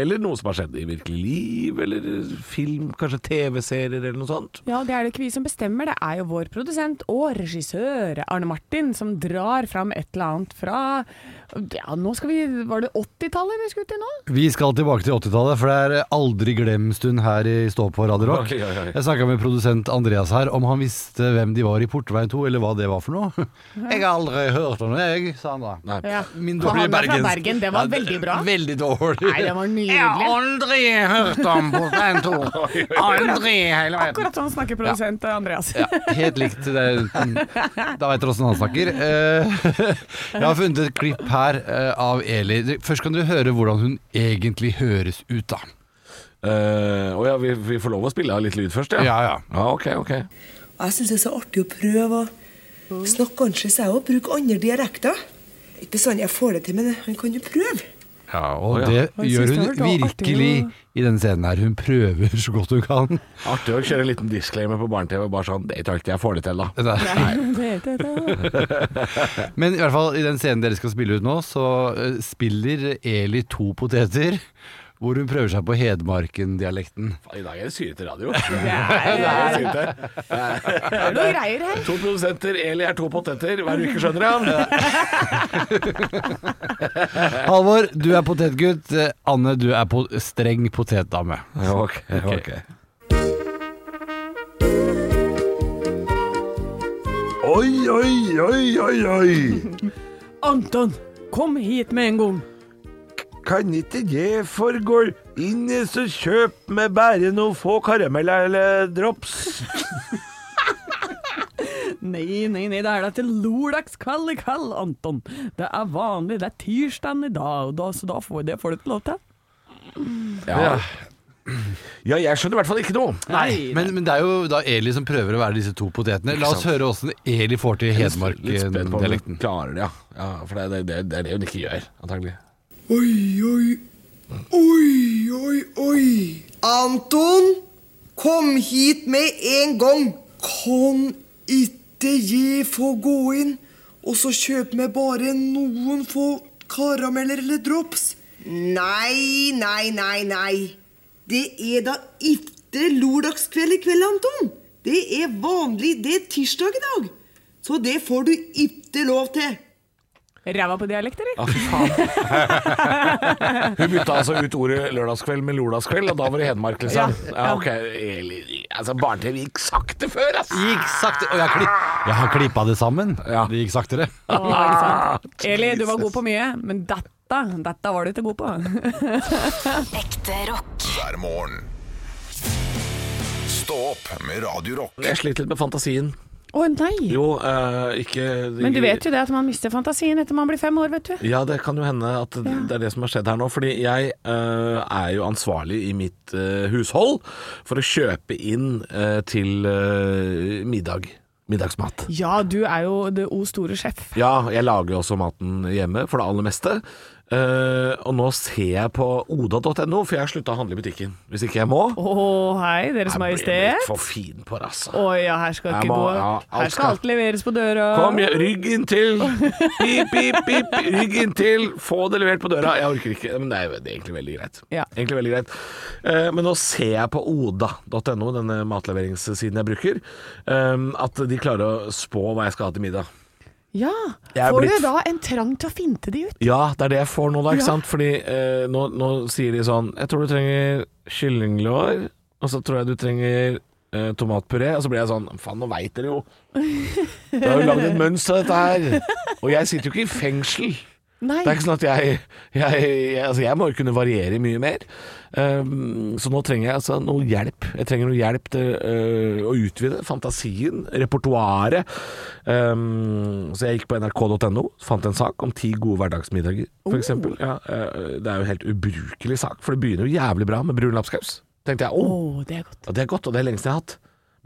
Speaker 3: Eller noe som har skjedd i virkelig liv, eller film, kanskje TV-serier eller noe sånt.
Speaker 4: Ja, det er det ikke vi som bestemmer, det er jo vår produsent og regissør Arne Martin som drar fram et eller annet fra Ja, nå skal vi Var det 80-tallet vi skulle til nå?
Speaker 10: Vi skal tilbake til 80-tallet, for det er aldri glem-stund her i Stå på Radio Rock.
Speaker 3: Oi, oi, oi.
Speaker 10: Jeg snakka med produsent Andreas her om han visste hvem de var i Portveien 2, eller hva det var for noe. Jeg har aldri hørt om det, jeg, sa sa han da.
Speaker 3: Nei.
Speaker 4: Ja.
Speaker 10: Min
Speaker 4: For
Speaker 10: dårlige
Speaker 4: han var fra
Speaker 10: bergensk-
Speaker 4: Bergen, det var veldig bra.
Speaker 10: Veldig dårlig.
Speaker 4: Nei, det var nydelig.
Speaker 3: aldri hørt om prosento. Aldri i hele
Speaker 4: Akkurat sånn snakker produsent Andreas.
Speaker 10: Ja, helt likt. Det. er- Da veit dere åssen han snakker. Eh, Jeg har funnet et klipp her eh, av Eli. Dere- Først kan dere høre hvordan hun egentlig høres ut, da.
Speaker 3: Eh, Å ja, vi, vi får lov å spille av litt lyd først, ja?
Speaker 10: Ja, ja.
Speaker 3: ok, ok.
Speaker 8: Og jeg syns det er så artig å prøve å snakke annerledes jeg òg. Bruke andre dialekter. Ikke bestandig jeg får det til, men han kan jo prøve.
Speaker 10: Ja, og
Speaker 3: Å, ja.
Speaker 10: det
Speaker 4: Oi,
Speaker 10: gjør
Speaker 4: synes
Speaker 10: hun
Speaker 4: det var artig,
Speaker 10: virkelig
Speaker 4: ja.
Speaker 10: i denne scenen her. Hun prøver så godt hun kan.
Speaker 3: Artig å kjøre en liten disclaimer på barne-TV. Bare sånn Det tror jeg ikke jeg får det til, da.
Speaker 10: Nei.
Speaker 4: Ja.
Speaker 10: Men i hvert fall i den scenen dere skal spille ut nå, så eh, spiller Eli to poteter. Hvor hun prøver seg på Hedmarken-dialekten.
Speaker 3: Faen, I dag er det syrete radio. Det er syrete.
Speaker 4: Det er noe greier her.
Speaker 3: To produsenter, Eli er to poteter. Hver uke skjønner han.
Speaker 10: Halvor, du er potetgutt. Eh, Anne, du er po streng potetdame.
Speaker 3: Ja, ok, ok. Oi, oi, oi, oi, oi.
Speaker 4: Anton, kom hit med en gang.
Speaker 3: Kan ikke jeg forgå inn i så kjøp med bare noen få karameller eller drops?
Speaker 4: Nei, nei, nei, det er da til lordags kveld i kveld, Anton. Det er vanlig, det er tirsdagen i dag, og da, så da får det får du ikke lov til.
Speaker 3: Ja. ja, jeg skjønner i hvert fall ikke noe.
Speaker 4: Nei,
Speaker 10: Men, men det er jo da Eli som prøver å være disse to potetene. La oss høre åssen Eli får til eh,
Speaker 3: Litt spent på om
Speaker 10: Hedmarken-dialekten.
Speaker 3: hun klarer det, ja. ja for det, det, det, det er det hun ikke gjør, antagelig.
Speaker 8: Oi, oi, oi, oi, oi. Anton, kom hit med en gang. Kan ikke jeg få gå inn, og så kjøpe meg bare noen få karameller eller drops? Nei, nei, nei, nei. Det er da ikke lørdagskveld i kveld, Anton. Det er vanlig, det er tirsdag i dag. Så det får du ikke lov til.
Speaker 4: Ræva på dialekt, eller?
Speaker 3: Hun bytta altså ut ordet lørdagskveld med lordagskveld, og da var det Hedmark, liksom. Ja, ok. Eli- Altså, barne-TV gikk sakte før, ass!
Speaker 10: Gikk sakte Og jeg, har klipp, jeg har klippa det sammen.
Speaker 3: Ja.
Speaker 10: Det gikk saktere.
Speaker 4: Å, ikke sant? Eli, du var god på mye, men dette, dette var du ikke god på.
Speaker 6: Ekte rock.
Speaker 2: hver morgen. Stå opp med Radio Rock.
Speaker 3: Jeg sliter litt med fantasien.
Speaker 4: Å nei!
Speaker 3: Jo, eh, ikke
Speaker 4: Men du vet jo det at man mister fantasien etter man blir fem år, vet du.
Speaker 3: Ja, det kan jo hende at det det er det som har skjedd her nå. Fordi jeg eh, er jo ansvarlig i mitt eh, hushold for å kjøpe inn eh, til eh, middag. Middagsmat.
Speaker 4: Ja, du er jo det o store sjef.
Speaker 3: Ja, jeg lager jo også maten hjemme, for det aller meste. Eh, og nå ser jeg på oda.no, for jeg har slutta å handle i butikken. Hvis ikke jeg må.
Speaker 4: Å, hei, Deres
Speaker 3: jeg blir litt
Speaker 4: Majestet.
Speaker 3: for fin på det, altså.
Speaker 4: Å ja, her skal
Speaker 3: Jeg
Speaker 4: ikke
Speaker 3: må-
Speaker 4: gå.
Speaker 3: ja, alt skal-
Speaker 4: Her skal alt leveres på døra.
Speaker 3: Kom, jeg- rygg inntil! Pip, pip, pip! Rygg inntil! Få det levert på døra. Jeg orker ikke. Men det er, jo- det er egentlig veldig greit.
Speaker 4: Ja.
Speaker 3: Egentlig veldig greit. Eh, men nå ser jeg på oda.no, denne matleveringssiden jeg bruker, eh, at de klarer å spå hva jeg skal ha til middag.
Speaker 4: Ja,
Speaker 3: Jeg er
Speaker 4: får
Speaker 3: blitt-
Speaker 4: du da en trang til å finte de ut?
Speaker 3: Ja, det er det jeg får nå, da. Ikke
Speaker 4: Ja.
Speaker 3: sant? Fordi eh, nå, nå sier de sånn Jeg tror du trenger kyllinglår, og så tror jeg du trenger eh, tomatpuré. Og så blir jeg sånn Faen, nå veit dere jo. Det er jo lagd et mønster, dette her. Og jeg sitter jo ikke i fengsel.
Speaker 4: Nei.
Speaker 3: Det er ikke sånn at jeg Jeg, jeg, altså jeg må jo kunne variere mye mer. Um, så nå trenger jeg altså noe hjelp. Jeg trenger noe hjelp til øh, å utvide fantasien, repertoaret. Um, så jeg gikk på nrk.no, fant en sak om ti gode hverdagsmiddager, f.eks. Ja, øh, det er jo en helt ubrukelig sak, for det begynner jo jævlig bra med brun lapskaus. Tenkte jeg,
Speaker 4: Å,
Speaker 3: åh,
Speaker 4: det er godt.
Speaker 3: ja, det er godt, og det er lenge siden jeg har hatt.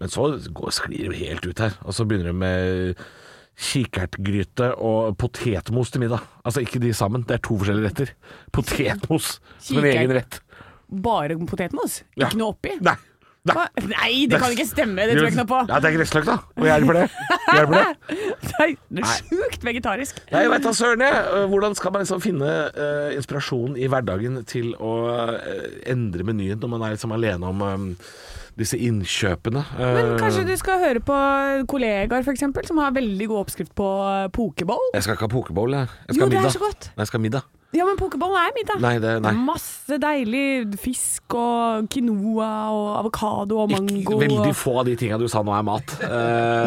Speaker 3: Men så går, sklir det jo helt ut her. Og så begynner det med kikertgryte og potetmos til middag. Altså ikke de sammen, det er to forskjellige retter. Potetmos som en
Speaker 4: Kikert.
Speaker 3: egen rett.
Speaker 4: Bare potetmos?
Speaker 3: Ja.
Speaker 4: Ikke noe oppi?
Speaker 3: Nei. Nei.
Speaker 4: Hva? Nei, det kan ikke stemme, det tror jeg ikke noe på.
Speaker 3: Ja, det er gressløk, da. Og jeg er for det. Jeg er for det.
Speaker 4: Nei, det er sjukt vegetarisk.
Speaker 3: Nei, jeg veit da søren, jeg. Øh, Hvordan skal man liksom finne øh, inspirasjon i hverdagen til å øh, endre menyen når man er liksom alene om øh, disse innkjøpene.
Speaker 4: Men
Speaker 3: Eh,
Speaker 4: kanskje du skal høre på kollegaer f.eks., som har veldig god oppskrift på eh, pokeball?
Speaker 3: Jeg skal ikke ha pokeball, jeg. jeg skal ha
Speaker 4: Jo, det er
Speaker 3: middag.
Speaker 4: så godt.
Speaker 3: Nei, jeg skal ha middag.
Speaker 4: Ja, men pokeball er middag.
Speaker 3: Nei, det- nei.
Speaker 4: Masse deilig fisk og quinoa og avokado og
Speaker 3: Ikke,
Speaker 4: mango.
Speaker 3: veldig
Speaker 4: og-
Speaker 3: få av de tinga du sa nå er mat. Eh,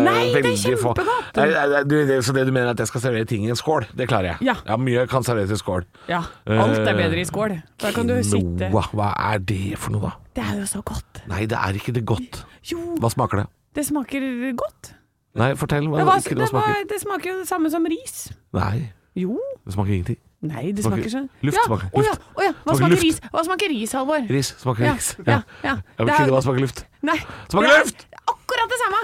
Speaker 4: Nei, det er
Speaker 3: veldig få.
Speaker 4: kjempegodt.
Speaker 3: Nei, nei, nei, du- det- Så det du mener er at jeg skal servere ting i en skål? Det klarer jeg.
Speaker 4: Ja.
Speaker 3: Mye kan serveres i skål.
Speaker 4: Ja, alt er
Speaker 3: Eh,
Speaker 4: bedre i skål. Da kan du sitte
Speaker 3: Quinoa, hva er det for noe, da?
Speaker 4: Det er jo så godt.
Speaker 3: Nei, det er ikke det godt.
Speaker 4: Jo,
Speaker 3: Hva smaker det?
Speaker 4: det smaker godt.
Speaker 3: Nei, fortell hva
Speaker 4: Det,
Speaker 3: det,
Speaker 4: var,
Speaker 3: ikke
Speaker 4: det,
Speaker 3: det smaker.
Speaker 4: var, det smaker jo det samme som ris.
Speaker 3: Nei,
Speaker 4: Jo.
Speaker 3: det smaker ingenting.
Speaker 4: Nei, det
Speaker 3: Smaker-
Speaker 4: smaker sånn
Speaker 3: luft
Speaker 4: ja.
Speaker 3: smaker-
Speaker 4: Å ja,
Speaker 3: luft.
Speaker 4: å ja. Hva
Speaker 3: Smaker
Speaker 4: smaker
Speaker 3: luft.
Speaker 4: ris? Hva smaker ris, Halvor?
Speaker 3: Ris smaker
Speaker 4: Ja,
Speaker 3: ris.
Speaker 4: ja, ja.
Speaker 3: Jeg vil
Speaker 4: Det er-
Speaker 3: ikke hva smaker luft.
Speaker 4: Nei.
Speaker 3: Smaker
Speaker 4: det er
Speaker 3: luft!
Speaker 4: Akkurat det samme!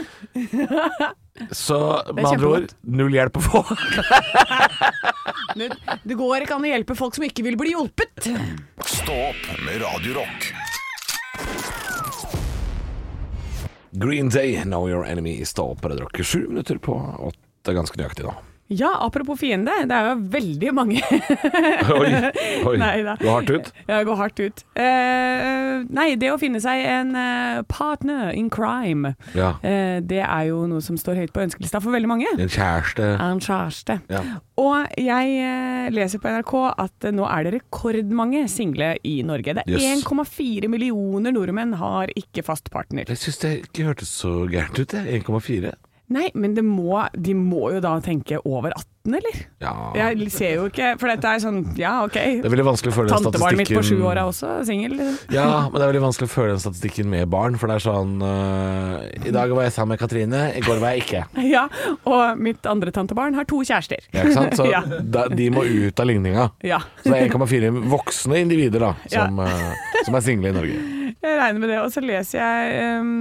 Speaker 3: Så med
Speaker 4: er
Speaker 3: andre ord, null hjelp å få.
Speaker 4: Men det går ikke an å hjelpe folk som ikke vil bli hjulpet.
Speaker 2: Stå opp med Radio Rock.
Speaker 3: Green Day, Know Your Enemy, stå opp på Red Rocker. Sju minutter på åtte, ganske nøyaktig nå.
Speaker 4: Ja, apropos fiende. Det er jo veldig mange
Speaker 3: Oi, oi.
Speaker 4: Neida.
Speaker 3: Gå hardt ut.
Speaker 4: Ja, det går hardt ut. Eh, nei, det å finne seg en eh, partner in crime,
Speaker 3: Ja.
Speaker 4: eh, det er jo noe som står høyt på ønskelista for veldig mange.
Speaker 3: En kjæreste.
Speaker 4: Er en kjæreste.
Speaker 3: Ja.
Speaker 4: Og jeg eh, leser på NRK at eh, nå er det rekordmange single i Norge. Det er
Speaker 3: Yes.
Speaker 4: 1,4 millioner nordmenn har ikke fast partner.
Speaker 3: Jeg syns det ikke hørtes så gærent ut, jeg. 1,4.
Speaker 4: Nei, men det må, de må jo da tenke over 18, eller?
Speaker 3: Ja.
Speaker 4: Jeg ser jo ikke, for dette er sånn, ja ok.
Speaker 3: Ah. Det er veldig vanskelig å følge den
Speaker 4: Tantebarnet mitt
Speaker 3: statistikken
Speaker 4: på sju år er også liksom. singel.
Speaker 3: Ja, men det er veldig vanskelig å følge den statistikken med barn, for det er sånn øh, I dag var jeg sammen med Katrine, i går var jeg ikke.
Speaker 4: Ja, og mitt andre tantebarn har to kjærester.
Speaker 3: Ja, ikke sant? Så
Speaker 4: Ja.
Speaker 3: da, de må ut av ligninga.
Speaker 4: Ja.
Speaker 3: Så det er 1,4 voksne individer da som, øh, som er single i Norge.
Speaker 4: Jeg regner med det. Og så leser jeg ehm,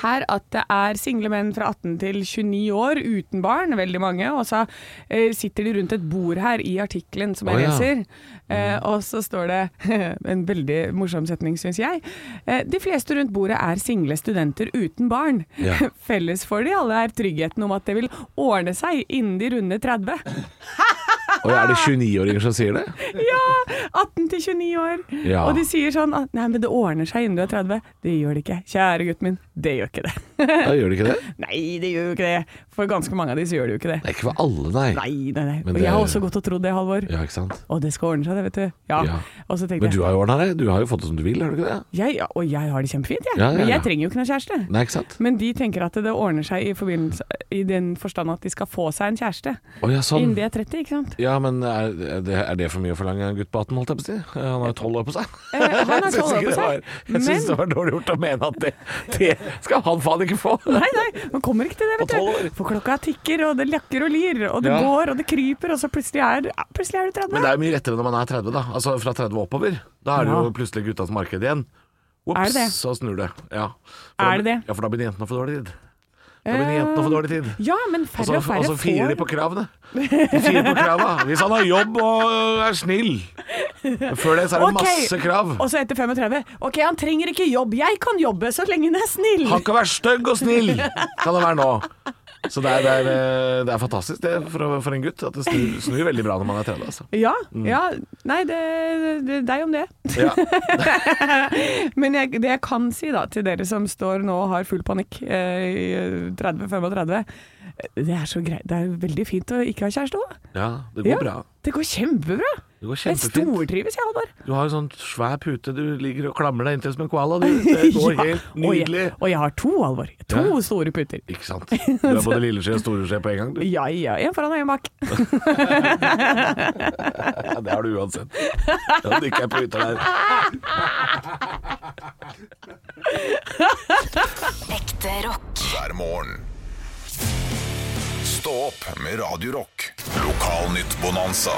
Speaker 4: her at det er single menn fra 18 til 29 år uten barn, veldig mange. Og så eh, sitter de rundt et bord her i artikkelen som jeg
Speaker 3: Å, ja. Mm.
Speaker 4: leser. Eh, og så står det en veldig morsom setning, syns jeg. Eh, de fleste rundt bordet er single studenter uten barn.
Speaker 3: Ja.
Speaker 4: Felles for de alle er tryggheten om at det vil ordne seg innen de runde 30.
Speaker 3: Og er det 29-åringer som sier det?
Speaker 4: Ja! 18 til 29 år.
Speaker 3: Ja.
Speaker 4: Og de sier sånn at nei, men det ordner seg innen du er 30. Det gjør det ikke. Kjære gutten min, det gjør ikke det.
Speaker 3: Da gjør de ikke det?
Speaker 4: nei, det gjør jo ikke det. For ganske mange av de så gjør det jo ikke det.
Speaker 3: Det er ikke for alle, nei.
Speaker 4: Nei, nei, nei.
Speaker 3: Men
Speaker 4: Og
Speaker 3: det-
Speaker 4: jeg har også gått og trodd det, Halvor.
Speaker 3: Ja, ikke sant?
Speaker 4: Og det skal ordne seg, det, vet du. Ja.
Speaker 3: Ja.
Speaker 4: Og så tenkte
Speaker 3: Men du
Speaker 4: jeg
Speaker 3: har jo ordna det. Du har jo fått det som du vil, har du ikke det?
Speaker 4: jeg, ja, og jeg har det kjempefint, jeg.
Speaker 3: Ja, ja,
Speaker 4: Men
Speaker 3: ja.
Speaker 4: jeg trenger jo ikke noen kjæreste.
Speaker 3: Nei, ikke sant?
Speaker 4: Men de tenker at det ordner seg i, forbindelse- i den forstand at de skal få seg en kjæreste
Speaker 3: Å ja, sånn.
Speaker 4: innen de er 30, ikke sant.
Speaker 3: Ja, men er er det, er det for mye å forlange av en gutt på 18, holdt jeg på å si? Eh, Han har jo 12 år på seg.
Speaker 4: Eh, han har
Speaker 3: Jeg synes ikke
Speaker 4: 12 år på
Speaker 3: det
Speaker 4: seg,
Speaker 3: var- Jeg syns
Speaker 4: men-
Speaker 3: det var dårlig gjort å mene at det, det skal han faen ikke få.
Speaker 4: Nei, nei, man kommer ikke til det,
Speaker 3: På tolv
Speaker 4: vet
Speaker 3: år.
Speaker 4: du. For klokka tikker, og det lakker og lir, og det
Speaker 3: Ja.
Speaker 4: går, og det kryper, og så plutselig er, ja, plutselig er du 30.
Speaker 3: Men det er jo mye rettere når man er 30, da. Altså fra 30 og oppover. Da er det
Speaker 4: Ja.
Speaker 3: jo plutselig guttas marked igjen.
Speaker 4: Er
Speaker 3: Ops,
Speaker 4: det det?
Speaker 3: så snur det. Ja.
Speaker 4: Er det det?
Speaker 3: Ja, for da begynner jentene å få dårlig tid. Da begynner jentene å få dårlig tid.
Speaker 4: Ja, men
Speaker 3: Og
Speaker 4: Eh, færre
Speaker 3: så,
Speaker 4: og færre
Speaker 3: og så firer de
Speaker 4: får
Speaker 3: på kravene. De firer på krava. Hvis han har jobb og er snill. Men Før det så er det
Speaker 4: Ok,
Speaker 3: masse krav.
Speaker 4: Og så etter 35 OK, han trenger ikke jobb, jeg kan jobbe så lenge han er snill.
Speaker 3: Han kan være stygg og snill, kan han være nå. Så det er, det er, eh, det er fantastisk det for, for en gutt. At det snur, snur veldig bra når man er 30. Altså.
Speaker 4: Ja, ja. Nei, det, det deg om det.
Speaker 3: Ja.
Speaker 4: Men jeg, det jeg kan si da, til dere som står nå og har full panikk eh, i 30-35, det er så greit. Det er veldig fint å ikke ha kjæreste òg.
Speaker 3: ja, det går bra.
Speaker 4: Det går kjempebra.
Speaker 3: Det går
Speaker 4: Jeg
Speaker 3: kjempefint.
Speaker 4: stortrives, jeg, Halvor.
Speaker 3: Du har en sånn svær pute, du ligger og klamrer deg inntil som en koala. Du. Det går helt
Speaker 4: Ja, og jeg-
Speaker 3: nydelig.
Speaker 4: Og jeg har to, Alvor. To
Speaker 3: Ja.
Speaker 4: store puter.
Speaker 3: Ikke sant. Du er både lilleskje og storeskje på en gang. Du.
Speaker 4: Ja, ja, en foran og en bak.
Speaker 3: Ja, det har du uansett. Ja, du ikke er puter der.
Speaker 6: Ekte rock.
Speaker 2: hver morgen. Stå opp med Radio Rock. Lokalnytt Bonanza.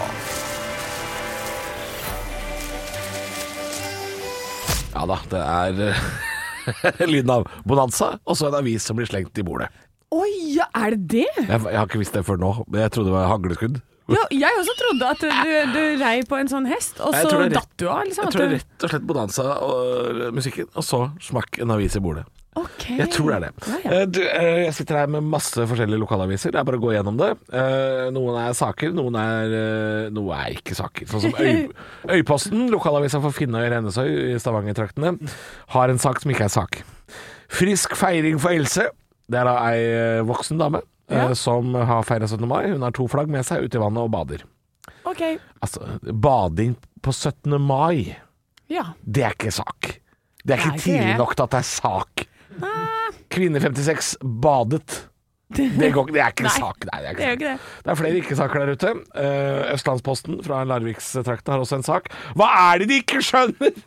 Speaker 3: Ja da, det er eh, lyden av bonanza, og så en avis som blir slengt i bordet.
Speaker 4: Oi, ja, er det det?
Speaker 3: Jeg, jeg har ikke visst det før nå, men jeg trodde det var hagleskudd.
Speaker 4: Ja, jeg også trodde at du, du rei på en sånn hest, og
Speaker 3: Jeg
Speaker 4: så
Speaker 3: tror det er rett-
Speaker 4: datt du av. Liksom,
Speaker 3: Jeg
Speaker 4: at
Speaker 3: tror det
Speaker 4: du-
Speaker 3: er rett og slett bonanza og øh, musikken, og så smakk en avis i bordet.
Speaker 4: Ok.
Speaker 3: Jeg tror det er det.
Speaker 4: Ja, ja.
Speaker 3: Eh, Du, eh, jeg sitter her med masse forskjellige lokalaviser. Det er bare å gå gjennom det. Eh, Noen er saker, noen er, eh, noe er ikke saker. Sånn som Øy Øyposten, lokalavisa for Finnøy og Rennesøy i Stavanger-traktene, har en sak som ikke er sak. Frisk feiring for Else. Det er da ei eh, voksen dame eh, som har feira 17. mai. Hun har to flagg med seg ute i vannet og bader.
Speaker 4: Ok,
Speaker 3: Altså, bading på 17. mai,
Speaker 4: ja.
Speaker 3: det er ikke sak. Det er
Speaker 4: Nei,
Speaker 3: ikke
Speaker 4: det er-
Speaker 3: tidlig nok til at det er sak.
Speaker 4: Ah,
Speaker 3: Kvinne 56 badet. Det, går, ikke- det er ikke
Speaker 4: Nei,
Speaker 3: sak. Nei, det er
Speaker 4: Det
Speaker 3: ikke
Speaker 4: er jo
Speaker 3: sak.
Speaker 4: ikke det.
Speaker 3: Det er flere ikke-saker der ute. Eh, Østlandsposten fra Larvikstrakten har også en sak. Hva er det de ikke skjønner?!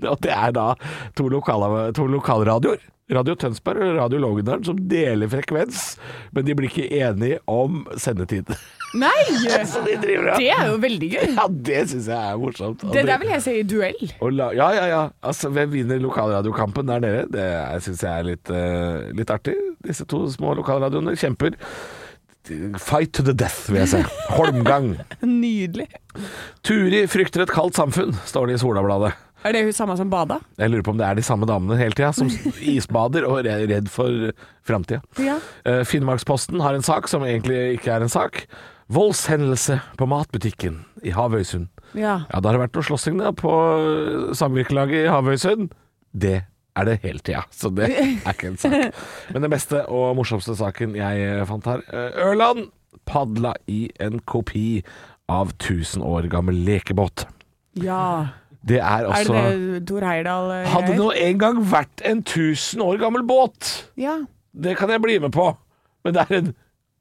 Speaker 3: Og det er da to, lokala- to lokalradioer. Radio Tønsberg og Radio Longyearbyen som deler frekvens, men de blir ikke enige om sendetid.
Speaker 4: Nei!
Speaker 3: Så de driver og
Speaker 4: Det er jo veldig gøy.
Speaker 3: Ja, det syns jeg er morsomt.
Speaker 4: Det der vil jeg si i duell.
Speaker 3: Og la, ja, ja, ja. Altså, hvem vinner lokalradiokampen der nede? Det syns jeg er litt, eh, litt artig. Disse to små lokalradioene kjemper. Fight to the death, vil jeg si. Holmgang.
Speaker 4: Nydelig.
Speaker 3: Turi frykter et kaldt samfunn, står det i Solabladet.
Speaker 4: Er det hun samme som bada?
Speaker 3: Jeg lurer på om det er de samme damene hele tida, som isbader og er redd for framtida.
Speaker 4: Ja.
Speaker 3: Eh, Finnmarksposten har en sak som egentlig ikke er en sak. Voldshendelse på matbutikken i Havøysund.
Speaker 4: Ja.
Speaker 3: Ja, da har det vært noe slåssing da på eh, samvirkelaget i Havøysund. Det er det hele tida, så det er ikke en sak. Men den beste og morsomste saken jeg fant her eh, Ørland padla i en kopi av 1000 år gammel lekebåt.
Speaker 4: ja.
Speaker 3: Det er
Speaker 4: Er
Speaker 3: også
Speaker 4: det Tor Heyerdahl? eh,
Speaker 3: Hadde
Speaker 4: greier?
Speaker 3: nå en gang vært en 1000 år gammel båt!
Speaker 4: Ja.
Speaker 3: Det kan jeg bli med på, men det er en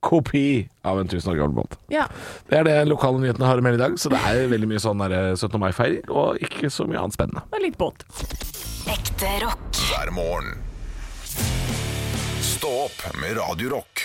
Speaker 3: kopi av en 1000 år gammel båt.
Speaker 4: ja.
Speaker 3: Det er det lokale nyhetene har å melde i dag, så det er veldig mye sånn der, eh, 17. mai-feiring, og ikke så mye annet spennende.
Speaker 4: Det er litt båt.
Speaker 6: Ekte rock.
Speaker 2: hver morgen. Stå opp med Radio Rock.